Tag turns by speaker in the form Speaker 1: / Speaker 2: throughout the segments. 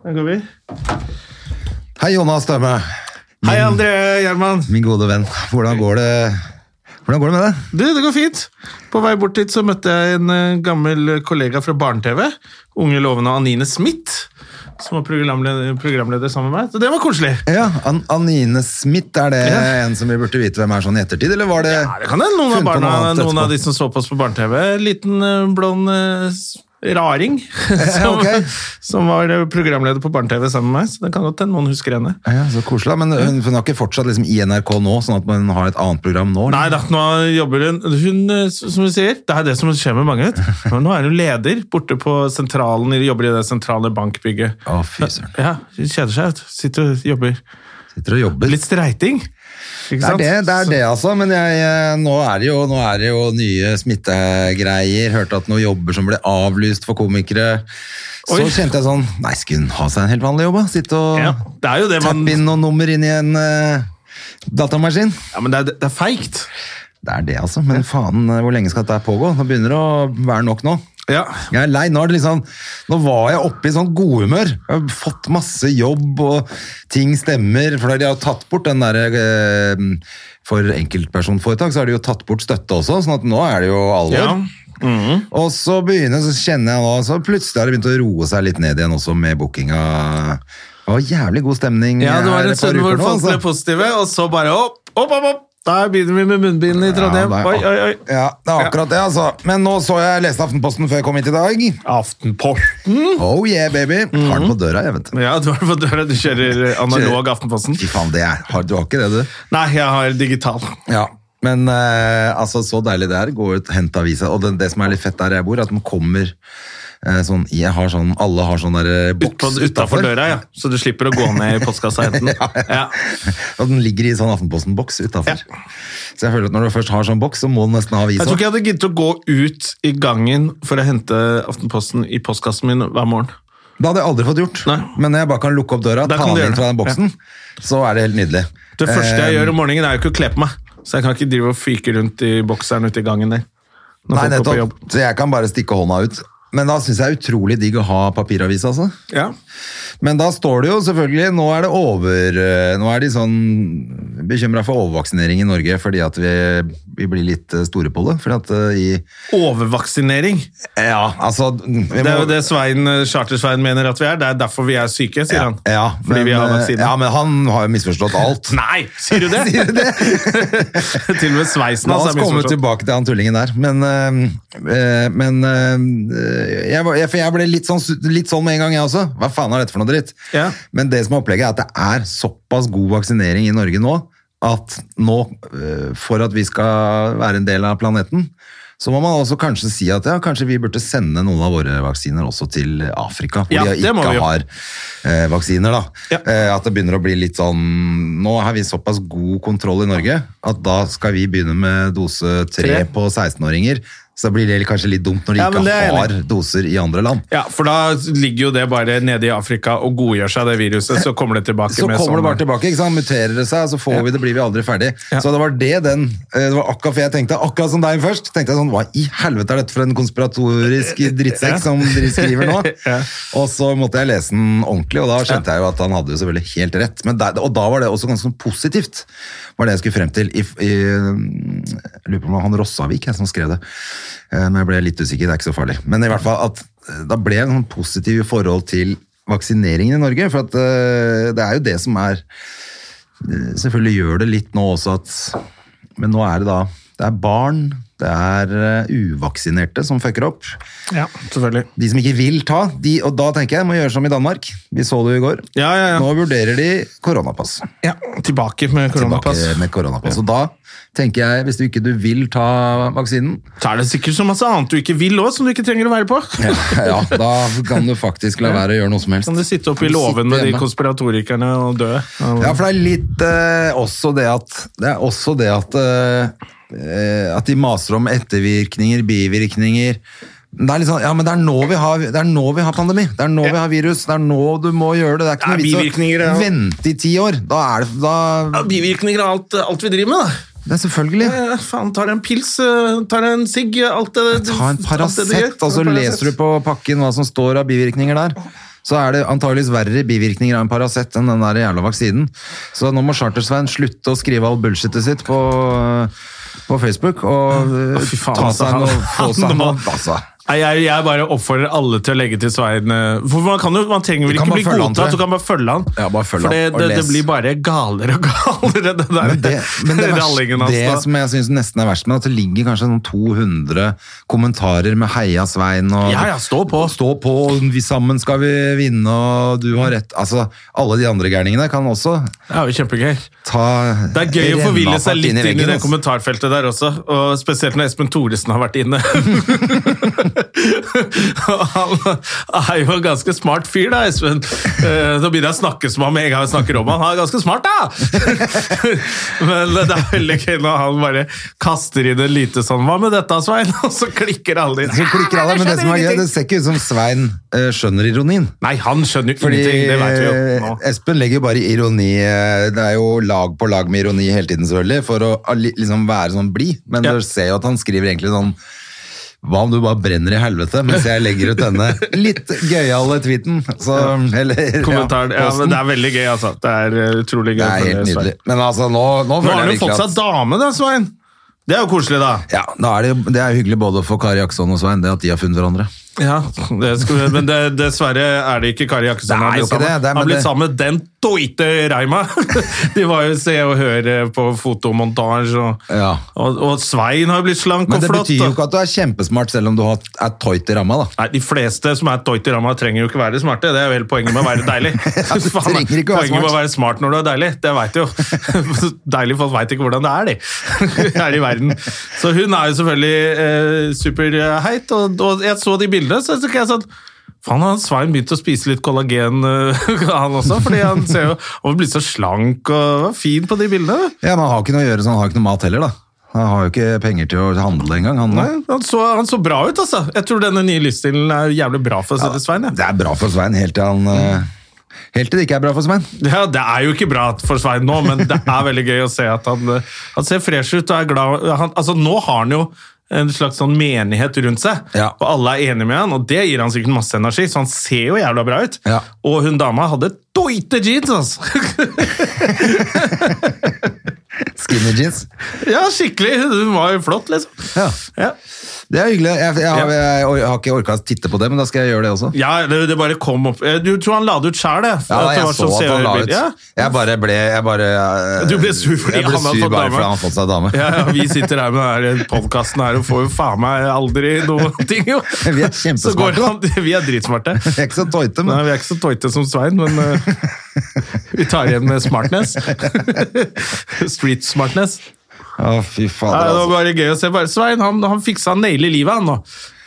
Speaker 1: Da går vi.
Speaker 2: Hei, Jonas Støme.
Speaker 1: Hei, André Gjerman.
Speaker 2: Min gode venn. Hvordan går det, Hvordan går det med deg?
Speaker 1: Du, det går fint. På vei bort dit så møtte jeg en eh, gammel kollega fra barne-TV. Unge lovende Anine Smith, som var programleder, programleder sammen med meg. Så det var koselig.
Speaker 2: Ja, An Anine Smith, er det
Speaker 1: Ja.
Speaker 2: en som vi burde vite hvem er sånn i ettertid, eller var det
Speaker 1: Ja, det kan hende noen av
Speaker 2: Funnet på
Speaker 1: barna,
Speaker 2: noe annet
Speaker 1: noen
Speaker 2: etterpå.
Speaker 1: av de som så på oss på barne-TV. Liten eh, blond eh, s- raring som,
Speaker 2: ok.
Speaker 1: som var eh, programleder på barne-TV sammen med meg. Så det kan godt hende noen husker henne.
Speaker 2: ja, Så koselig, da. men hun, hun har ikke fortsatt liksom, i NRK nå, sånn at man har et annet program nå?
Speaker 1: Nei da, nå jobber hun Hun, eh, s- som du sier, det er det som skjer med mange. vet du. Men nå er hun leder borte på sentralen, eller jobber i det sentrale bankbygget.
Speaker 2: Å, fy søren.
Speaker 1: Ja, hun kjeder seg, vet du. Sitter og jobber.
Speaker 2: Sitter og jobber.
Speaker 1: Litt streiting. Ikke
Speaker 2: Det er
Speaker 1: sant?
Speaker 2: det, det er det altså, men jeg, eh, nå, er det jo, nå er det jo nye smittegreier. Hørte at noen jobber som ble avlyst for komikere. Så
Speaker 1: Oi.
Speaker 2: kjente jeg sånn Nei, skulle hun ha seg en helt vanlig jobb? da? Sitte og
Speaker 1: Ja, det er jo det man
Speaker 2: tappe inn noen nummer inn i en eh, datamaskin?
Speaker 1: Ja, men det er, det er feigt.
Speaker 2: Det er det, altså. Men faen, eh, hvor lenge skal dette pågå? Nå begynner det å være nok nå.
Speaker 1: Ja.
Speaker 2: Jeg er lei. Nå, er det liksom, nå var jeg oppe i sånt godhumør. Jeg har fått masse jobb, og ting stemmer. For de har jo tatt bort den derre eh, For enkeltpersonforetak så har de jo tatt bort støtte også, sånn at nå er det jo alvor.
Speaker 1: ja. Mhm.
Speaker 2: Og så begynner, så kjenner jeg nå, så plutselig har det begynt å roe seg litt ned igjen også med bookinga. Det var jævlig god stemning
Speaker 1: Ja, det var
Speaker 2: her
Speaker 1: en
Speaker 2: et par
Speaker 1: stund hvor
Speaker 2: uker nå,
Speaker 1: folk ble
Speaker 2: altså.
Speaker 1: positive, og så bare opp, opp, opp, opp. Der begynner vi med munnbind i Trondheim.
Speaker 2: Ja,
Speaker 1: Oi,
Speaker 2: det er-
Speaker 1: oi, oi.
Speaker 2: Ja, det er akkurat det, altså. Men nå så jeg leste Aftenposten før jeg kom hit i dag.
Speaker 1: Aftenposten.
Speaker 2: Oh yeah, baby! Har den på døra, jeg, vet du.
Speaker 1: Ja, du har fått døra. Du kjører analog Aftenposten.
Speaker 2: Fy faen, det er har- Du har ikke det, du?
Speaker 1: Nei, jeg har digital.
Speaker 2: Ja, men eh, altså så deilig det er. Gå ut, hent avisa. Og det, det som er litt fett der jeg bor, er at man kommer eh, sånn, jeg har sånn, alle har sånn der eh,
Speaker 1: Utpå-
Speaker 2: boks
Speaker 1: Utenfor
Speaker 2: utenfor.
Speaker 1: døra, ja. Så du slipper å gå ned i postkassa og hente den. Ja.
Speaker 2: Og den ligger i sånn Aftenposten-boks utenfor. Så jeg føler at når du først har sånn boks, så må du nesten ha
Speaker 1: Jeg
Speaker 2: avisa.
Speaker 1: tror ikke jeg hadde giddet å gå ut i gangen for å hente Aftenposten i postkassen min hver morgen.
Speaker 2: Det hadde jeg aldri fått gjort.
Speaker 1: Nei.
Speaker 2: Men når jeg bare kan lukke opp døra,
Speaker 1: Da
Speaker 2: ta
Speaker 1: kan du
Speaker 2: den
Speaker 1: gjøre
Speaker 2: inn fra den
Speaker 1: det.
Speaker 2: boksen, så er det helt nydelig.
Speaker 1: Det første jeg
Speaker 2: Eh,
Speaker 1: gjør om morgenen, er jo ikke å kle på meg. Så jeg kan ikke drive og fyke rundt i bokseren ute i gangen der. Når
Speaker 2: Nei,
Speaker 1: folk går på
Speaker 2: nettopp.
Speaker 1: jobb.
Speaker 2: Så jeg kan bare stikke hånda ut. Men da syns jeg det er utrolig digg å ha papiravis, altså.
Speaker 1: Ja.
Speaker 2: Men da står det jo selvfølgelig Nå er det over eh, Nå er de sånn bekymra for overvaksinering i Norge fordi at vi, vi blir litt eh, store på det. Fordi at eh, i
Speaker 1: Overvaksinering.
Speaker 2: Ja, altså vi må,
Speaker 1: Det er jo det Svein, eh, Charter-Svein mener at vi er. Det er derfor vi er syke, sier han.
Speaker 2: Ja,
Speaker 1: Fordi
Speaker 2: men,
Speaker 1: vi har
Speaker 2: eh,
Speaker 1: vaksine.
Speaker 2: Ja, men han har jo misforstått alt.
Speaker 1: Nei, sier du det?
Speaker 2: Sier du det?
Speaker 1: til og med sveisen
Speaker 2: La
Speaker 1: hans
Speaker 2: oss
Speaker 1: er
Speaker 2: komme
Speaker 1: misforstått.
Speaker 2: tilbake til han tullingen der. Men, eh, eh, men eh, jeg, var- jeg, for jeg ble litt sånn, litt sånn med en gang, jeg også. Hva faen er dette for noe dritt?
Speaker 1: Ja.
Speaker 2: Men det som er opplegget, er at det er såpass god vaksinering i Norge nå at nå, eh, for at vi skal være en del av planeten, så må man også kanskje si at ja, kanskje vi burde sende noen av våre vaksiner også til Afrika, hvor
Speaker 1: Ja,
Speaker 2: de
Speaker 1: det må vi
Speaker 2: ikke
Speaker 1: jo.
Speaker 2: har eh, vaksiner. da.
Speaker 1: Ja.
Speaker 2: Eh, at det begynner å bli litt sånn Nå har vi såpass god kontroll i Norge at da skal vi begynne med dose tre
Speaker 1: Tre.
Speaker 2: på 16-åringer. Så da blir det kanskje litt dumt når de
Speaker 1: Ja, men
Speaker 2: ikke
Speaker 1: det er jeg
Speaker 2: har doser i andre land.
Speaker 1: Ja, for da ligger jo det bare nede i Afrika og godgjør seg det viruset, så kommer det tilbake
Speaker 2: Så
Speaker 1: med
Speaker 2: kommer det
Speaker 1: sånn-
Speaker 2: bare tilbake, ikke sant? muterer det seg, så får vi det, blir vi aldri ferdig.
Speaker 1: Ja.
Speaker 2: Så det var det den eh, Det var akkurat for jeg tenkte, akkurat som deg først, tenkte jeg sånn Hva i helvete er dette for en konspiratorisk
Speaker 1: Eh,
Speaker 2: drittsekk
Speaker 1: Ja.
Speaker 2: som dere skriver nå?
Speaker 1: Ja.
Speaker 2: Og så måtte jeg lese den ordentlig, og da skjønte jeg jo at han hadde jo selvfølgelig helt rett. Men der, og da var det også ganske sånn positivt, var det jeg skulle frem til. I, i, jeg lurer på om det var han Rossavik jeg, som skrev det, Eh, men jeg ble litt usikker, det er ikke så farlig. Men i hvert fall at eh, da ble jeg en sånn positiv i forhold til vaksineringen i Norge, for at eh, det er jo det som er selvfølgelig gjør det litt nå også at Men nå er det da Det er barn, Det er eh, uvaksinerte som fucker opp.
Speaker 1: Ja, selvfølgelig.
Speaker 2: De som ikke vil ta, de, og da tenker jeg må gjøre som i Danmark. Vi så det jo i går.
Speaker 1: Ja, ja, ja.
Speaker 2: Nå vurderer de koronapass.
Speaker 1: ja tilbake med koronapass.
Speaker 2: Tilbake med koronapass. Og da tenker jeg, hvis du ikke du vil ta vaksinen,
Speaker 1: Så er det sikkert så masse annet du ikke vil òg, som du ikke trenger å være på.
Speaker 2: ja, da kan du faktisk la være å gjøre noe som helst.
Speaker 1: Kan du sitte oppe i
Speaker 2: Kan du
Speaker 1: låven med
Speaker 2: sitte
Speaker 1: de
Speaker 2: hjemme?
Speaker 1: konspiratorikerne og dø?
Speaker 2: Ja, for det er litt eh, også det at Det er også det at eh, At de maser om ettervirkninger, bivirkninger. Men Det er litt sånn, ja, men det er nå vi har, det er nå vi har pandemi. Det er nå vi har virus. Det er nå du må gjøre det. Det er ikke
Speaker 1: Det er
Speaker 2: noe
Speaker 1: bivirkninger,
Speaker 2: vits
Speaker 1: ja.
Speaker 2: å vente i ti år. Da er det da,
Speaker 1: Bivirkninger av alt, alt vi driver med, da.
Speaker 2: Det er selvfølgelig.
Speaker 1: Eh, Faen, tar en pils, eh, tar en sigg, eh, alt det
Speaker 2: Ta en
Speaker 1: alt det du gjør.
Speaker 2: Paracet, og så
Speaker 1: Ta en Paracet.
Speaker 2: leser du på pakken hva som står av bivirkninger der. Så er det antageligvis verre bivirkninger av en Paracet enn den der jævla vaksinen. Så nå må Charter-Svein slutte å skrive all bullshitet sitt på, på Facebook og eh,
Speaker 1: fy faen,
Speaker 2: ta
Speaker 1: altså,
Speaker 2: seg
Speaker 1: han-
Speaker 2: noe, få seg
Speaker 1: han må-
Speaker 2: noe. Altså,
Speaker 1: Nei, jeg, jeg bare oppfordrer alle til å legge til Svein eh, For man, kan jo, man trenger
Speaker 2: Du
Speaker 1: vel
Speaker 2: kan
Speaker 1: ikke
Speaker 2: bare
Speaker 1: bli
Speaker 2: følge han, tror
Speaker 1: godtatt,
Speaker 2: jeg.
Speaker 1: du kan bare følge han.
Speaker 2: Ja, bare følge
Speaker 1: For det,
Speaker 2: han, og
Speaker 1: det, det
Speaker 2: les.
Speaker 1: blir bare galere og galere, det altså. der
Speaker 2: men det, men det,
Speaker 1: rallingen
Speaker 2: verste,
Speaker 1: hans
Speaker 2: det
Speaker 1: da.
Speaker 2: som jeg syns nesten er verst med, at det ligger kanskje sånn 200 kommentarer med 'heia Svein' og
Speaker 1: Ja, ja, stå på.
Speaker 2: stå på, og vi sammen skal vi vinne, og du har rett. Altså, alle de andre gærningene kan også
Speaker 1: Det er jo kjempegøy.
Speaker 2: ta
Speaker 1: Det er gøy å
Speaker 2: renna
Speaker 1: forville seg
Speaker 2: fart
Speaker 1: litt inn i,
Speaker 2: veggen,
Speaker 1: det
Speaker 2: altså.
Speaker 1: kommentarfeltet der også, og spesielt når Espen Thoresen har vært inne. Og han er jo en ganske smart fyr, da, Espen. Eh, Nå begynner jeg å snakke som han med en gang jeg snakker om han. Han er ganske smart, da! Men det er veldig gøy når han bare kaster inn en lite sånn 'Hva med dette, Svein?' Og så klikker alle inn.
Speaker 2: Så klikker alle, men det som er gøy, det ser ikke ut som Svein eh, skjønner ironien.
Speaker 1: Nei, han skjønner jo
Speaker 2: Fordi
Speaker 1: ingenting, det vet vi jo nå.
Speaker 2: eh, Espen legger jo bare ironi eh, Det er jo lag på lag med ironi hele tiden, selvfølgelig, for å alli- liksom være sånn blid. Men
Speaker 1: Ja.
Speaker 2: du ser jo at han skriver egentlig sånn Hva om du bare brenner i helvete mens jeg legger ut denne litt gøyale tweeten? Så, eller
Speaker 1: Kommentaren. Ja, men det er veldig gøy, altså. Det er eh, utrolig gøy.
Speaker 2: det er
Speaker 1: for
Speaker 2: helt
Speaker 1: Svein.
Speaker 2: nydelig. Men altså, nå, nå
Speaker 1: Nå
Speaker 2: føler
Speaker 1: har
Speaker 2: jeg
Speaker 1: han jo fått
Speaker 2: virkelig
Speaker 1: seg
Speaker 2: at
Speaker 1: dame, da, Svein. Det er jo koselig, da.
Speaker 2: ja, da er det, jo- det er hyggelig både for Kari Akson og Svein, det at de har funnet hverandre.
Speaker 1: Ja, det skulle, Men det, dessverre er det ikke Kari Jakkesson.
Speaker 2: Det er
Speaker 1: han
Speaker 2: jo
Speaker 1: blitt
Speaker 2: ikke
Speaker 1: sammen.
Speaker 2: det, det er-
Speaker 1: han
Speaker 2: men
Speaker 1: ble
Speaker 2: det-
Speaker 1: sammen med den doite Reima! De var jo Se og Hør på fotomontasje, og,
Speaker 2: Ja.
Speaker 1: og, og Svein har jo blitt slank
Speaker 2: Men
Speaker 1: og
Speaker 2: det
Speaker 1: flott.
Speaker 2: betyr jo
Speaker 1: da.
Speaker 2: ikke at du er kjempesmart selv om du har- er tøyt i ramma, da.
Speaker 1: Nei, De fleste som er doite Rama, trenger jo ikke være smarte. Det er jo hele poenget med å være deilig.
Speaker 2: du
Speaker 1: Faen,
Speaker 2: trenger ikke å være
Speaker 1: poenget med å
Speaker 2: smart.
Speaker 1: være smart når du er deilig, det veit du jo. Deilige folk veit ikke hvordan det er, de. Her i verden. Så hun er jo selvfølgelig eh, superheit, og, og jeg så de bildene, så tenker jeg sånn Faen, han Svein begynte å spise litt kollagen, eh, han også. fordi han ser jo Han blir så slank og var fin på de bildene.
Speaker 2: Ja, men han har ikke noe å gjøre, så han har ikke noe mat heller, da. Han har jo ikke penger til å handle engang. Han,
Speaker 1: Nei, han, så, han så bra ut, altså. Jeg tror denne nye livsstilen er jævlig bra for ja, Svein. Ja.
Speaker 2: Det er bra for Svein, helt til han eh, Helt til det ikke er bra for Svein.
Speaker 1: Ja, Det er jo ikke bra for Svein nå, men det er veldig gøy å se at han, eh, han ser fresh ut og er glad. Han, altså, nå har han jo en slags sånn menighet rundt seg,
Speaker 2: Ja.
Speaker 1: og alle er enige med han, og det gir han sikkert masse energi, så han ser jo jævla bra ut.
Speaker 2: Ja.
Speaker 1: Og hun dama hadde doite jeans, altså!
Speaker 2: Skinny jeans.
Speaker 1: ja, skikkelig! Hun var jo flott, liksom.
Speaker 2: Ja.
Speaker 1: Ja.
Speaker 2: Det er hyggelig. Jeg, jeg,
Speaker 1: Ja.
Speaker 2: har- jeg, jeg har ikke orka å titte på det, men da skal jeg gjøre det også.
Speaker 1: Ja, det, det bare kom opp Eh, Du tror han la det ut sjæl, det?
Speaker 2: Ja,
Speaker 1: At det var
Speaker 2: jeg så
Speaker 1: sånn
Speaker 2: at han la
Speaker 1: seerbil-
Speaker 2: ut.
Speaker 1: Ja.
Speaker 2: Jeg bare ble jeg bare, eh,
Speaker 1: Du ble sur fordi
Speaker 2: jeg ble
Speaker 1: han hadde
Speaker 2: sur
Speaker 1: fått
Speaker 2: bare
Speaker 1: dame.
Speaker 2: fordi han hadde fått seg dame.
Speaker 1: Ja, ja, vi sitter her med denne podkasten her og får jo faen meg aldri noen ting, jo.
Speaker 2: Vi er
Speaker 1: Så går
Speaker 2: kjempesmarte, da.
Speaker 1: han, vi er dritsmarte.
Speaker 2: Vi er ikke så tøyte,
Speaker 1: Nei,
Speaker 2: men
Speaker 1: vi er ikke så tøyte som Svein, men eh, vi tar igjen med smartness. Street smartness.
Speaker 2: Å, fy
Speaker 1: Nei,
Speaker 2: fader,
Speaker 1: det var
Speaker 2: altså.
Speaker 1: bare gøy å se. Bare, Svein han, han fiksa nail i livet, han nå.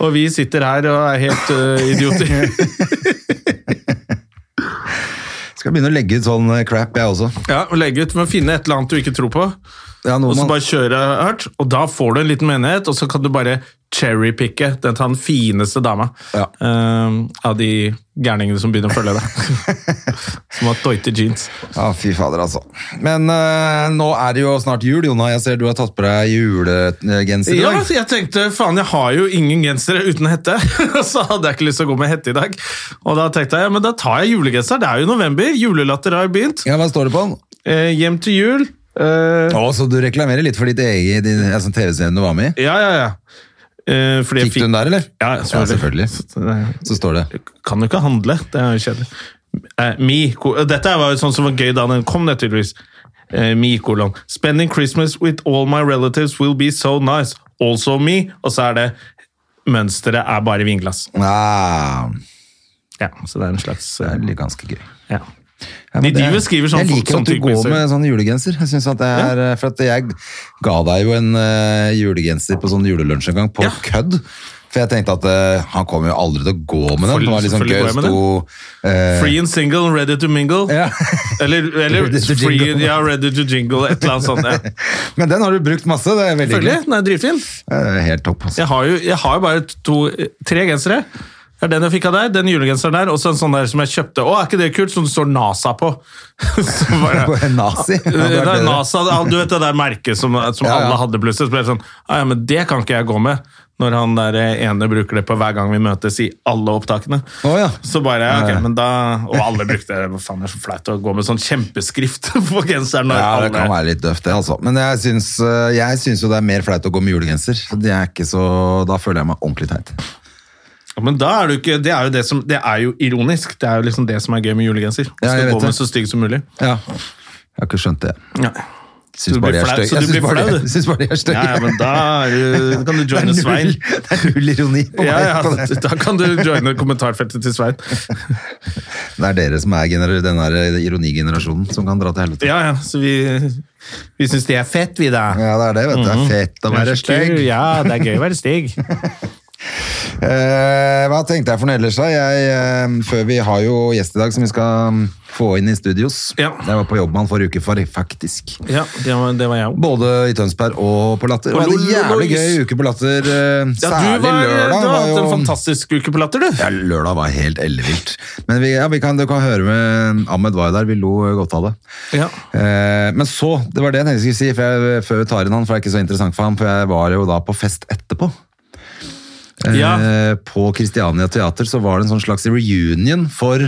Speaker 1: Og vi sitter her og er helt eh, idioter.
Speaker 2: Skal begynne å legge ut sånn eh, crap, jeg også.
Speaker 1: Ja, og Legge ut med å finne et eller annet du ikke tror på,
Speaker 2: Ja, noe
Speaker 1: og så
Speaker 2: man-
Speaker 1: bare kjøre hardt. Og da får du en liten menighet, og så kan du bare cherrypicke den ta den fineste dama
Speaker 2: Ja.
Speaker 1: eh, av de gærningene som begynner å følge deg. som har doite jeans.
Speaker 2: Ja, fy fader, altså. Men eh, nå er det jo snart jul, Jona. Jeg ser du har tatt på deg julegenser i
Speaker 1: Ja,
Speaker 2: dag.
Speaker 1: så jeg tenkte faen, jeg har jo ingen gensere uten hette. så hadde jeg ikke lyst til å gå med hette i dag. Og da tenkte jeg ja, men da tar jeg julegenser. Det er jo november, julelatter har begynt.
Speaker 2: Ja, hva står det på den?
Speaker 1: Eh, hjem til jul. Eh,
Speaker 2: Å, så du reklamerer litt for ditt eget din, altså, TV-serien du var med i.
Speaker 1: ja, ja, ja. Eh, fordi jeg
Speaker 2: Fikk du den der, eller?
Speaker 1: Ja, selvfølgelig. selvfølgelig.
Speaker 2: Så står det.
Speaker 1: kan jo ikke handle. Det er jo kjedelig. Eh, mi, ko- Dette var jo sånn som var gøy da den kom, naturligvis. Eh, mi kolon. Spending Christmas with all my relatives will be so nice. 'Also me', og så er det Mønsteret er bare vinglass.
Speaker 2: Nei,
Speaker 1: Ja, så det er en slags
Speaker 2: det
Speaker 1: eh,
Speaker 2: er litt ganske gøy.
Speaker 1: ja. De
Speaker 2: Ja, men det-
Speaker 1: driver og skriver sånn
Speaker 2: Jeg
Speaker 1: folk
Speaker 2: liker
Speaker 1: som
Speaker 2: at du går
Speaker 1: tykkviser.
Speaker 2: med sånn julegenser. Jeg synes at det er, For at jeg ga deg jo en eh, julegenser på sånn julelunsj en gang, på
Speaker 1: Ja.
Speaker 2: kødd. For jeg tenkte at eh, han kommer jo aldri til å gå med den.
Speaker 1: Selvfølgelig-
Speaker 2: Det var liksom
Speaker 1: selvfølgelig
Speaker 2: gøy
Speaker 1: går jeg med
Speaker 2: sto eh,
Speaker 1: Free and single, ready to mingle.
Speaker 2: Ja.
Speaker 1: Eller, eller
Speaker 2: Ready to
Speaker 1: free,
Speaker 2: jingle.
Speaker 1: ja, ready to jingle, et eller annet sånt. Ja.
Speaker 2: Men den har du brukt masse. Det er veldig
Speaker 1: Selvfølgelig,
Speaker 2: hyggelig.
Speaker 1: den er dritfin.
Speaker 2: Ja, det er Helt topp. Altså.
Speaker 1: Jeg har jo, jeg har jo bare to, tre gensere. Det er den jeg fikk av deg, den julegenseren der, og så en sånn der som jeg kjøpte. Å, er ikke det kult? Som det står NASA på. Så bare,
Speaker 2: På en nazi. Ja, det er
Speaker 1: Det er
Speaker 2: bedre.
Speaker 1: NASA, ja, du vet det der merket som, som
Speaker 2: Ja, ja.
Speaker 1: alle hadde plutselig. Så ble det sånn, «Ah, ja, men det kan ikke jeg gå med. Når han der ene bruker det på hver gang vi møtes i alle opptakene.
Speaker 2: Å, ja.
Speaker 1: Så bare, ja,
Speaker 2: Ja, ja.
Speaker 1: ok, men da, Og alle brukte det. Hva faen, det er så flaut å gå med sånn kjempeskrift på genseren. Når
Speaker 2: Ja, det
Speaker 1: alle,
Speaker 2: kan være litt døvt, det, altså. Men jeg syns, eh, jeg syns jo det er mer flaut å gå med julegenser. Så det er ikke så, da føler jeg meg ordentlig teit.
Speaker 1: Ja, Men da er du ikke, det er jo det som, det er jo ironisk. Det er jo liksom det som er gøy med julegenser. Du
Speaker 2: Ja, jeg
Speaker 1: skal
Speaker 2: vet
Speaker 1: gå med
Speaker 2: det.
Speaker 1: så stygg som mulig.
Speaker 2: Ja. Jeg har ikke skjønt det.
Speaker 1: Ja.
Speaker 2: Syns
Speaker 1: Du
Speaker 2: bare
Speaker 1: blir
Speaker 2: de er
Speaker 1: flau,
Speaker 2: stygge.
Speaker 1: så
Speaker 2: Jeg
Speaker 1: du
Speaker 2: syns
Speaker 1: blir
Speaker 2: bare
Speaker 1: flau,
Speaker 2: de er-
Speaker 1: du.
Speaker 2: jeg syns bare de er stygge.
Speaker 1: Ja, ja, men da er du- da kan du joine
Speaker 2: Det er null-
Speaker 1: Svein.
Speaker 2: Det er null ironi på
Speaker 1: Ja,
Speaker 2: meg.
Speaker 1: ja,
Speaker 2: på det.
Speaker 1: da kan du joine kommentarfeltet til Svein.
Speaker 2: Det er dere som er gener- den der ironigenerasjonen som kan dra til helvete.
Speaker 1: Ja, ja, så vi, vi syns det er fett, vi da.
Speaker 2: Ja, det er det, vet du. Det
Speaker 1: Mhm.
Speaker 2: er fett å være stygg.
Speaker 1: Ja, det er gøy å være stygg.
Speaker 2: Eh, hva tenkte jeg for noe ellers? da? Jeg, eh, før vi har jo gjest i dag som vi skal mm, få inn i studios.
Speaker 1: Ja.
Speaker 2: Jeg var på jobb med han forrige uke, for, faktisk.
Speaker 1: Ja, det var, det var jeg òg.
Speaker 2: Både i Tønsberg og på Latter.
Speaker 1: Og
Speaker 2: Og det var en
Speaker 1: Lollo
Speaker 2: jævlig
Speaker 1: Lois.
Speaker 2: gøy uke på Latter. eh,
Speaker 1: Ja,
Speaker 2: Særlig
Speaker 1: du, var,
Speaker 2: lørdag.
Speaker 1: du har
Speaker 2: var
Speaker 1: hatt en
Speaker 2: jo-
Speaker 1: fantastisk uke på Latter, du.
Speaker 2: Ja, lørdag var helt ellevilt. Men vi, ja, vi kan, du kan høre med Ahmed var jo der. Vi lo eh, godt av det.
Speaker 1: Ja.
Speaker 2: Eh, men så, det var det jeg tenkte jeg skulle si for jeg, før vi tar inn han, for det er ikke så interessant for han, for jeg var jo da på fest etterpå. Eh,
Speaker 1: Ja.
Speaker 2: På Kristiania Teater så var det en sånn slags reunion for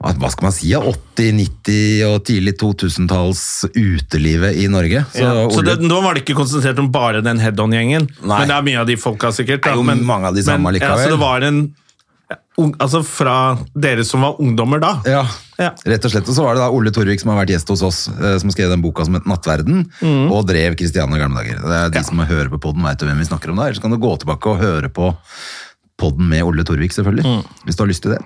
Speaker 2: hva hva skal man si, ja, 80-, 90- og tidlig 2000-talls utelivet i Norge. Så,
Speaker 1: Ja. Så
Speaker 2: Ole-
Speaker 1: det, nå var det ikke konsentrert om bare den head-on-gjengen,
Speaker 2: Nei.
Speaker 1: men det er mye av de folka sikkert.
Speaker 2: Det er jo
Speaker 1: men,
Speaker 2: mange av de samme
Speaker 1: men,
Speaker 2: likevel.
Speaker 1: Ja, så det var en ung, Altså fra dere som var ungdommer da.
Speaker 2: Ja,
Speaker 1: Ja.
Speaker 2: rett og slett. Og så var det da Ole Torvik som har vært gjest hos oss, eh, som skrev den boka som het Nattverden,
Speaker 1: Mhm.
Speaker 2: og drev Kristiania i gamle dager. Det er de som hører på podden, vet jo hvem vi snakker om da. Ellers kan du gå tilbake og høre på podden med Ole Torvik, selvfølgelig,
Speaker 1: Mhm.
Speaker 2: hvis du har lyst til det.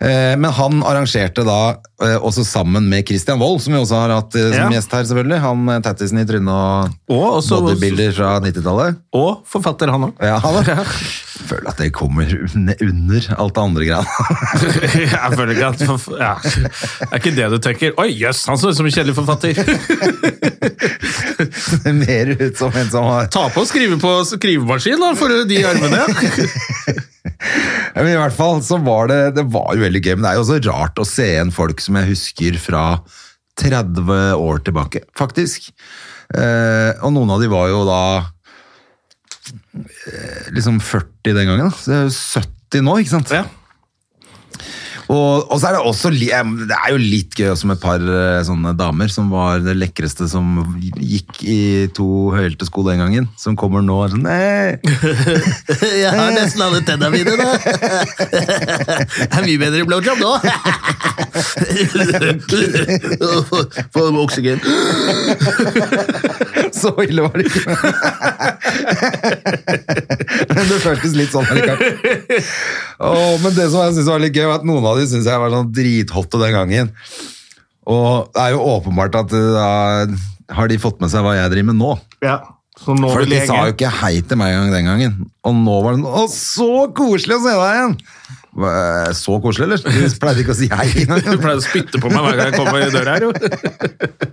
Speaker 2: Eh, Men han arrangerte da, eh, også sammen med Christian Wold, som vi også har hatt eh, som
Speaker 1: Ja.
Speaker 2: gjest her, selvfølgelig. Han eh, tattisen i trynet og
Speaker 1: Og, også,
Speaker 2: bodybuilder fra 90-tallet.
Speaker 1: og forfatter, han òg.
Speaker 2: Ja, han da. Føler at det kommer un- under alt det andre greiene.
Speaker 1: Jeg føler ikke at forf- ja. Det er ikke det du tenker. Oi, jøss, han så ut som en kjedelig forfatter!
Speaker 2: Mer ut som en som har
Speaker 1: Ta på og skrive på skrivemaskin, da, for de armene.
Speaker 2: Ja, Men i hvert fall så var det Det var jo veldig gøy, men det er jo også rart å se igjen folk som jeg husker fra 30 år tilbake, faktisk. Eh, og noen av de var jo da eh, liksom 40 den gangen, da. Så det er jo 70 nå, ikke sant?
Speaker 1: Ja.
Speaker 2: Og, og så er det også li- em, Det er jo litt gøy også med et par eh, sånne damer som var det lekreste som gikk i to høyhælte sko den gangen, som kommer nå og er sånn «Nei!»
Speaker 3: Jeg har nesten alle tennene mine, da. Det er mye bedre blowjob nå. Få oksygen.
Speaker 2: Så ille var det ikke. Men det føltes litt sånn allikevel. Åh, men det som jeg synes var litt gøy, var at noen av de synes jeg var sånn drithotte den gangen. Og det er jo åpenbart at eh, da har de fått med seg hva jeg driver med nå.
Speaker 1: Ja. Så nå
Speaker 2: For
Speaker 1: vil
Speaker 2: de
Speaker 1: jeg
Speaker 2: sa jo
Speaker 1: henge.
Speaker 2: ikke hei til meg engang den gangen. Og nå var det sånn, Å, så koselig å se deg igjen! Hva, Så koselig, eller? Du pleide ikke å si hei
Speaker 1: Du
Speaker 2: engang.
Speaker 1: pleier å spytte på meg hver gang jeg kommer i døra her,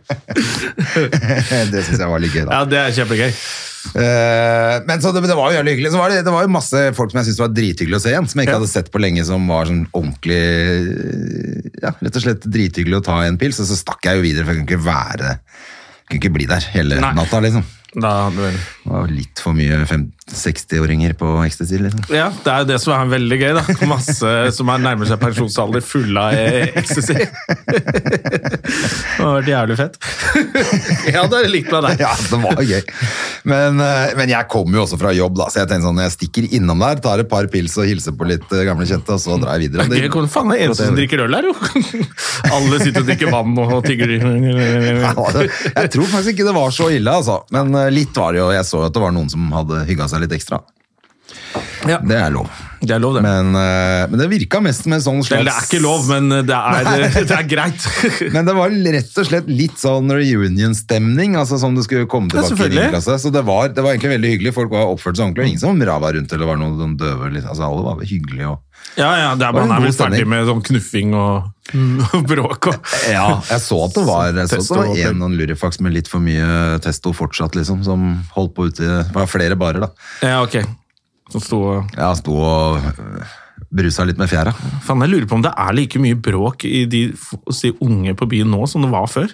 Speaker 1: jo.
Speaker 2: Det synes jeg var litt gøy, da.
Speaker 1: Ja, det er kjempegøy.
Speaker 2: Eh, men så det, det var jo jævlig hyggelig. Så var det, det var jo masse folk som jeg syntes var drithyggelig å se igjen, som jeg ikke
Speaker 1: Ja.
Speaker 2: hadde sett på lenge, som var sånn ordentlig eh, Ja, rett og slett drithyggelig å ta en pils, og så stakk jeg jo videre, for jeg kunne ikke være Kunne ikke bli der hele
Speaker 1: Nei.
Speaker 2: natta, liksom.
Speaker 1: Da, hadde du vel-
Speaker 2: Det var jo litt for mye fem- 60-åringer på ecstasy, liksom.
Speaker 1: Ja, det er jo det som er veldig gøy, da. Masse som er nærmer seg pensjonsalder, fulle av eh, ecstasy. Det har vært jævlig fett. Jeg hadde likt meg der.
Speaker 2: Ja, det var gøy. Men, eh, men jeg kommer jo også fra jobb, da, så jeg tenkte sånn, jeg stikker innom der, tar et par pils og hilser på litt eh, gamle kjente, og så drar jeg videre. Og
Speaker 1: Gøy,
Speaker 2: det-
Speaker 1: Hvordan faen er det eneste som drikker øl her, jo? Alle sitter og drikker vann og tigger.
Speaker 2: Ja, det- Jeg tror faktisk ikke det var så ille, altså. Men eh, litt var det jo Jeg så at det var noen som hadde hygga seg litt ekstra.
Speaker 1: Ja.
Speaker 2: Det er lov.
Speaker 1: Det er lov, det.
Speaker 2: Men, eh, men det virka mest med sånn slags
Speaker 1: Eller det er ikke lov, men det er, det er greit.
Speaker 2: Men det var rett og slett litt sånn reunion-stemning, altså som det skulle komme
Speaker 1: Ja,
Speaker 2: tilbake i
Speaker 1: selvfølgelig.
Speaker 2: din klasse. Så det var, det var egentlig veldig hyggelig. Folk var oppført seg ordentlig, og ingen som rava rundt eller var noen noen døve. Litt. Altså, alle var hyggelige og
Speaker 1: Ja, ja, det er,
Speaker 2: var en
Speaker 1: man er
Speaker 2: god
Speaker 1: vel ferdig
Speaker 2: stemning.
Speaker 1: med sånn knuffing og, og bråk og
Speaker 2: Ja, jeg så at det var, jeg så at
Speaker 1: Testo
Speaker 2: det var
Speaker 1: og
Speaker 2: en noen lurifax med litt for mye testo fortsatt, liksom, som holdt på ute i Det var flere barer, da.
Speaker 1: Ja, ok. Så sto og
Speaker 2: Jeg sto og øh, brusa litt med fjæra.
Speaker 1: Faen, jeg lurer på om det er like mye bråk i de, hos de unge på byen nå som det var før.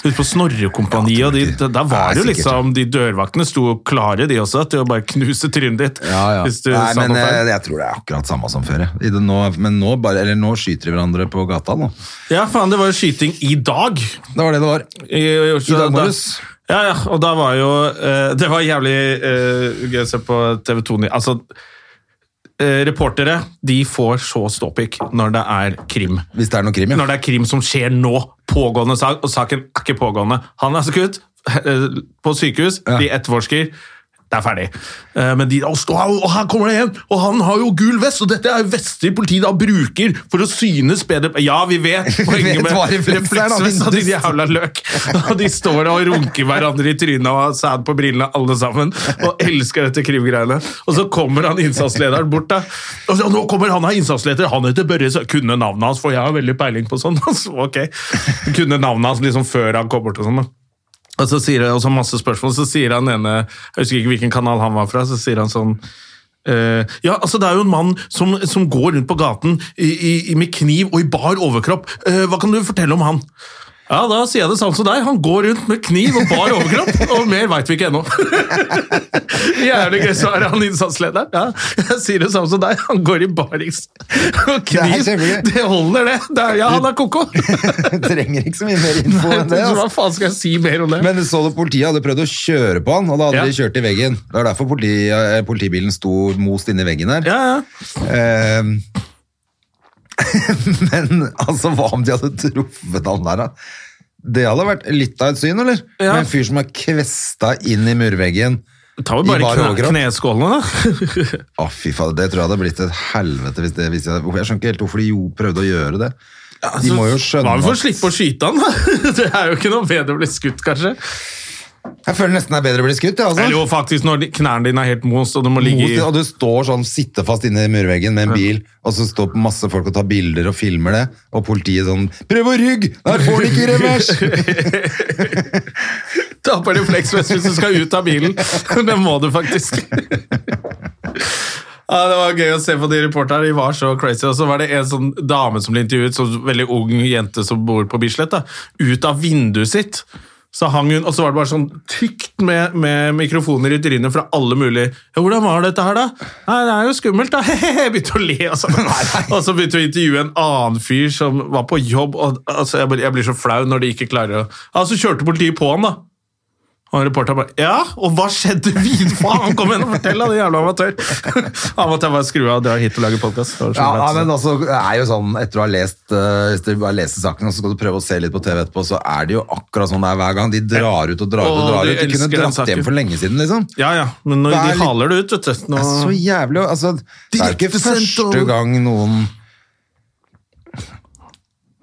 Speaker 1: Ute på Snorrekompaniet,
Speaker 2: Ja,
Speaker 1: og de,
Speaker 2: det er
Speaker 1: der var det jo
Speaker 2: sikkert.
Speaker 1: liksom De dørvaktene sto klare, de også, til å bare knuse trynet ditt. Hvis du
Speaker 2: Nei,
Speaker 1: sa
Speaker 2: men eh,
Speaker 1: noe
Speaker 2: jeg,
Speaker 1: feil.
Speaker 2: jeg tror det er akkurat samme som før. jeg. I det nå, men nå, bare, eller nå skyter de hverandre på gata nå.
Speaker 1: Ja, faen, det var jo skyting i dag!
Speaker 2: Det var det det var.
Speaker 1: I, i,
Speaker 2: I dag morges.
Speaker 1: Ja, ja, og da var jo eh, Det var jævlig eh, gøy å se på TV 2 Ny- Altså, eh, reportere de får så ståpikk når det er krim.
Speaker 2: Hvis det er noe krim, ja.
Speaker 1: Når det er krim som skjer nå, pågående sak, og saken er ikke pågående. Han er skutt eh, på sykehus, de etterforsker. Det er ferdig. Eh, Men de, og, stå, og her kommer det igjen! Og han har jo gul vest, og dette er vester politiet da bruker for å synes bedre Ja, vi vet
Speaker 2: vet
Speaker 1: poenget med
Speaker 2: hva reflekser er, da, men
Speaker 1: refleksvest og de
Speaker 2: du-
Speaker 1: jævla løk. Og de står og runker hverandre i trynet og har sæd på brillene, alle sammen. Og elsker dette krimgreiene. Og så kommer han innsatslederen bort, da. Og så, nå kommer han av innsatsleder, han heter Børre, så kunne navnet hans, for jeg har veldig peiling på sånn. Altså, ok. Kunne navnet hans liksom før han kom bort og sånn, da. Og så sier han, og så masse spørsmål, så sier han ene, jeg husker ikke hvilken kanal han var fra, så sier han sånn, Eh, ja, altså Det er jo en mann som, som går rundt på gaten i, i, i- med kniv og i bar overkropp. Eh, hva kan du fortelle om han? Ja, Da sier jeg det samme som deg. Han går rundt med kniv og bar overkropp, og mer veit vi ikke ennå. Jævlig gøy, så er han innsatslederen. Ja, jeg sier det samme som deg. Han går i barings og kniv.
Speaker 2: Det er kjempegøy.
Speaker 1: Det holder, det. det er, ja, han er ko-ko.
Speaker 2: trenger ikke så mye mer info enn det.
Speaker 1: Hva
Speaker 2: Altså.
Speaker 1: faen skal jeg si mer om det?
Speaker 2: Men så du politiet hadde prøvd å kjøre på han, og da hadde
Speaker 1: Ja.
Speaker 2: de kjørt i veggen. Det var derfor politi, eh, politibilen sto most inni veggen der.
Speaker 1: ja, ja.
Speaker 2: Eh, men altså, hva om de hadde truffet han der, da? Det hadde vært litt av et syn, eller?
Speaker 1: Ja.
Speaker 2: Med en fyr som er kvesta inn i murveggen.
Speaker 1: Ta vel
Speaker 2: I
Speaker 1: bare
Speaker 2: bar
Speaker 1: kne,
Speaker 2: overkropp.
Speaker 1: kneskålene, da.
Speaker 2: Å, fy faen, det tror jeg hadde blitt et helvete hvis det hvis jeg, jeg skjønner ikke helt hvorfor de jo prøvde å gjøre det. De må jo skjønne
Speaker 1: Hva om vi får
Speaker 2: at-
Speaker 1: slippe å skyte han, da? Det er jo ikke noe bedre å bli skutt, kanskje.
Speaker 2: Jeg føler nesten det er bedre å bli skutt, jeg, altså.
Speaker 1: Eller jo, faktisk, når de- knærne dine er helt most, og du må ligge i
Speaker 2: Mot, og du står sånn, sitter fast inne i murveggen med en bil, og så står masse folk og tar bilder og filmer det, og politiet sånn, prøv å rygg, der får de ikke revers!
Speaker 1: Ta på refleksvest hvis du skal ut av bilen. Det må du faktisk. Ja, Det var gøy å se på de reporterne. De var så crazy. Og så var det en sånn dame som ble intervjuet, som veldig ung jente som bor på Bislett, da, ut av vinduet sitt. Så hang hun, Og så var det bare sånn tykt med, med mikrofoner i trynet fra alle mulige. Ja, 'Hvordan var dette her, da?' 'Nei, det er jo skummelt, da.' Hehehe, begynte å le. Og så, og så begynte hun å intervjue en annen fyr som var på jobb. Og, altså, jeg, blir- jeg blir så flau når de ikke klarer å Ja, Så kjørte politiet på han, da. Og reporteren bare Ja, og hva skjedde videre? Faen, kom igjen og fortell, da, din jævla amatør! Han måtte jeg bare skru av og dra hit og lage podkast.
Speaker 2: Ja, ja, men altså, det er jo sånn, etter å ha lest, eh, etter å ha lest saken, og så skal du prøve å se litt på TV etterpå, så er det jo akkurat sånn det er hver gang. De drar ut og drar ut og
Speaker 1: Å,
Speaker 2: drar
Speaker 1: de
Speaker 2: ut. De kunne
Speaker 1: elsker den
Speaker 2: dratt
Speaker 1: saken.
Speaker 2: hjem for lenge siden, liksom.
Speaker 1: ja, ja, men når
Speaker 2: Det er
Speaker 1: de
Speaker 2: litt-
Speaker 1: haler det ut, vet du nå...
Speaker 2: Det er så jævlig, og, altså, det er jo ikke
Speaker 1: Direkte sendt og-
Speaker 2: første gang noen...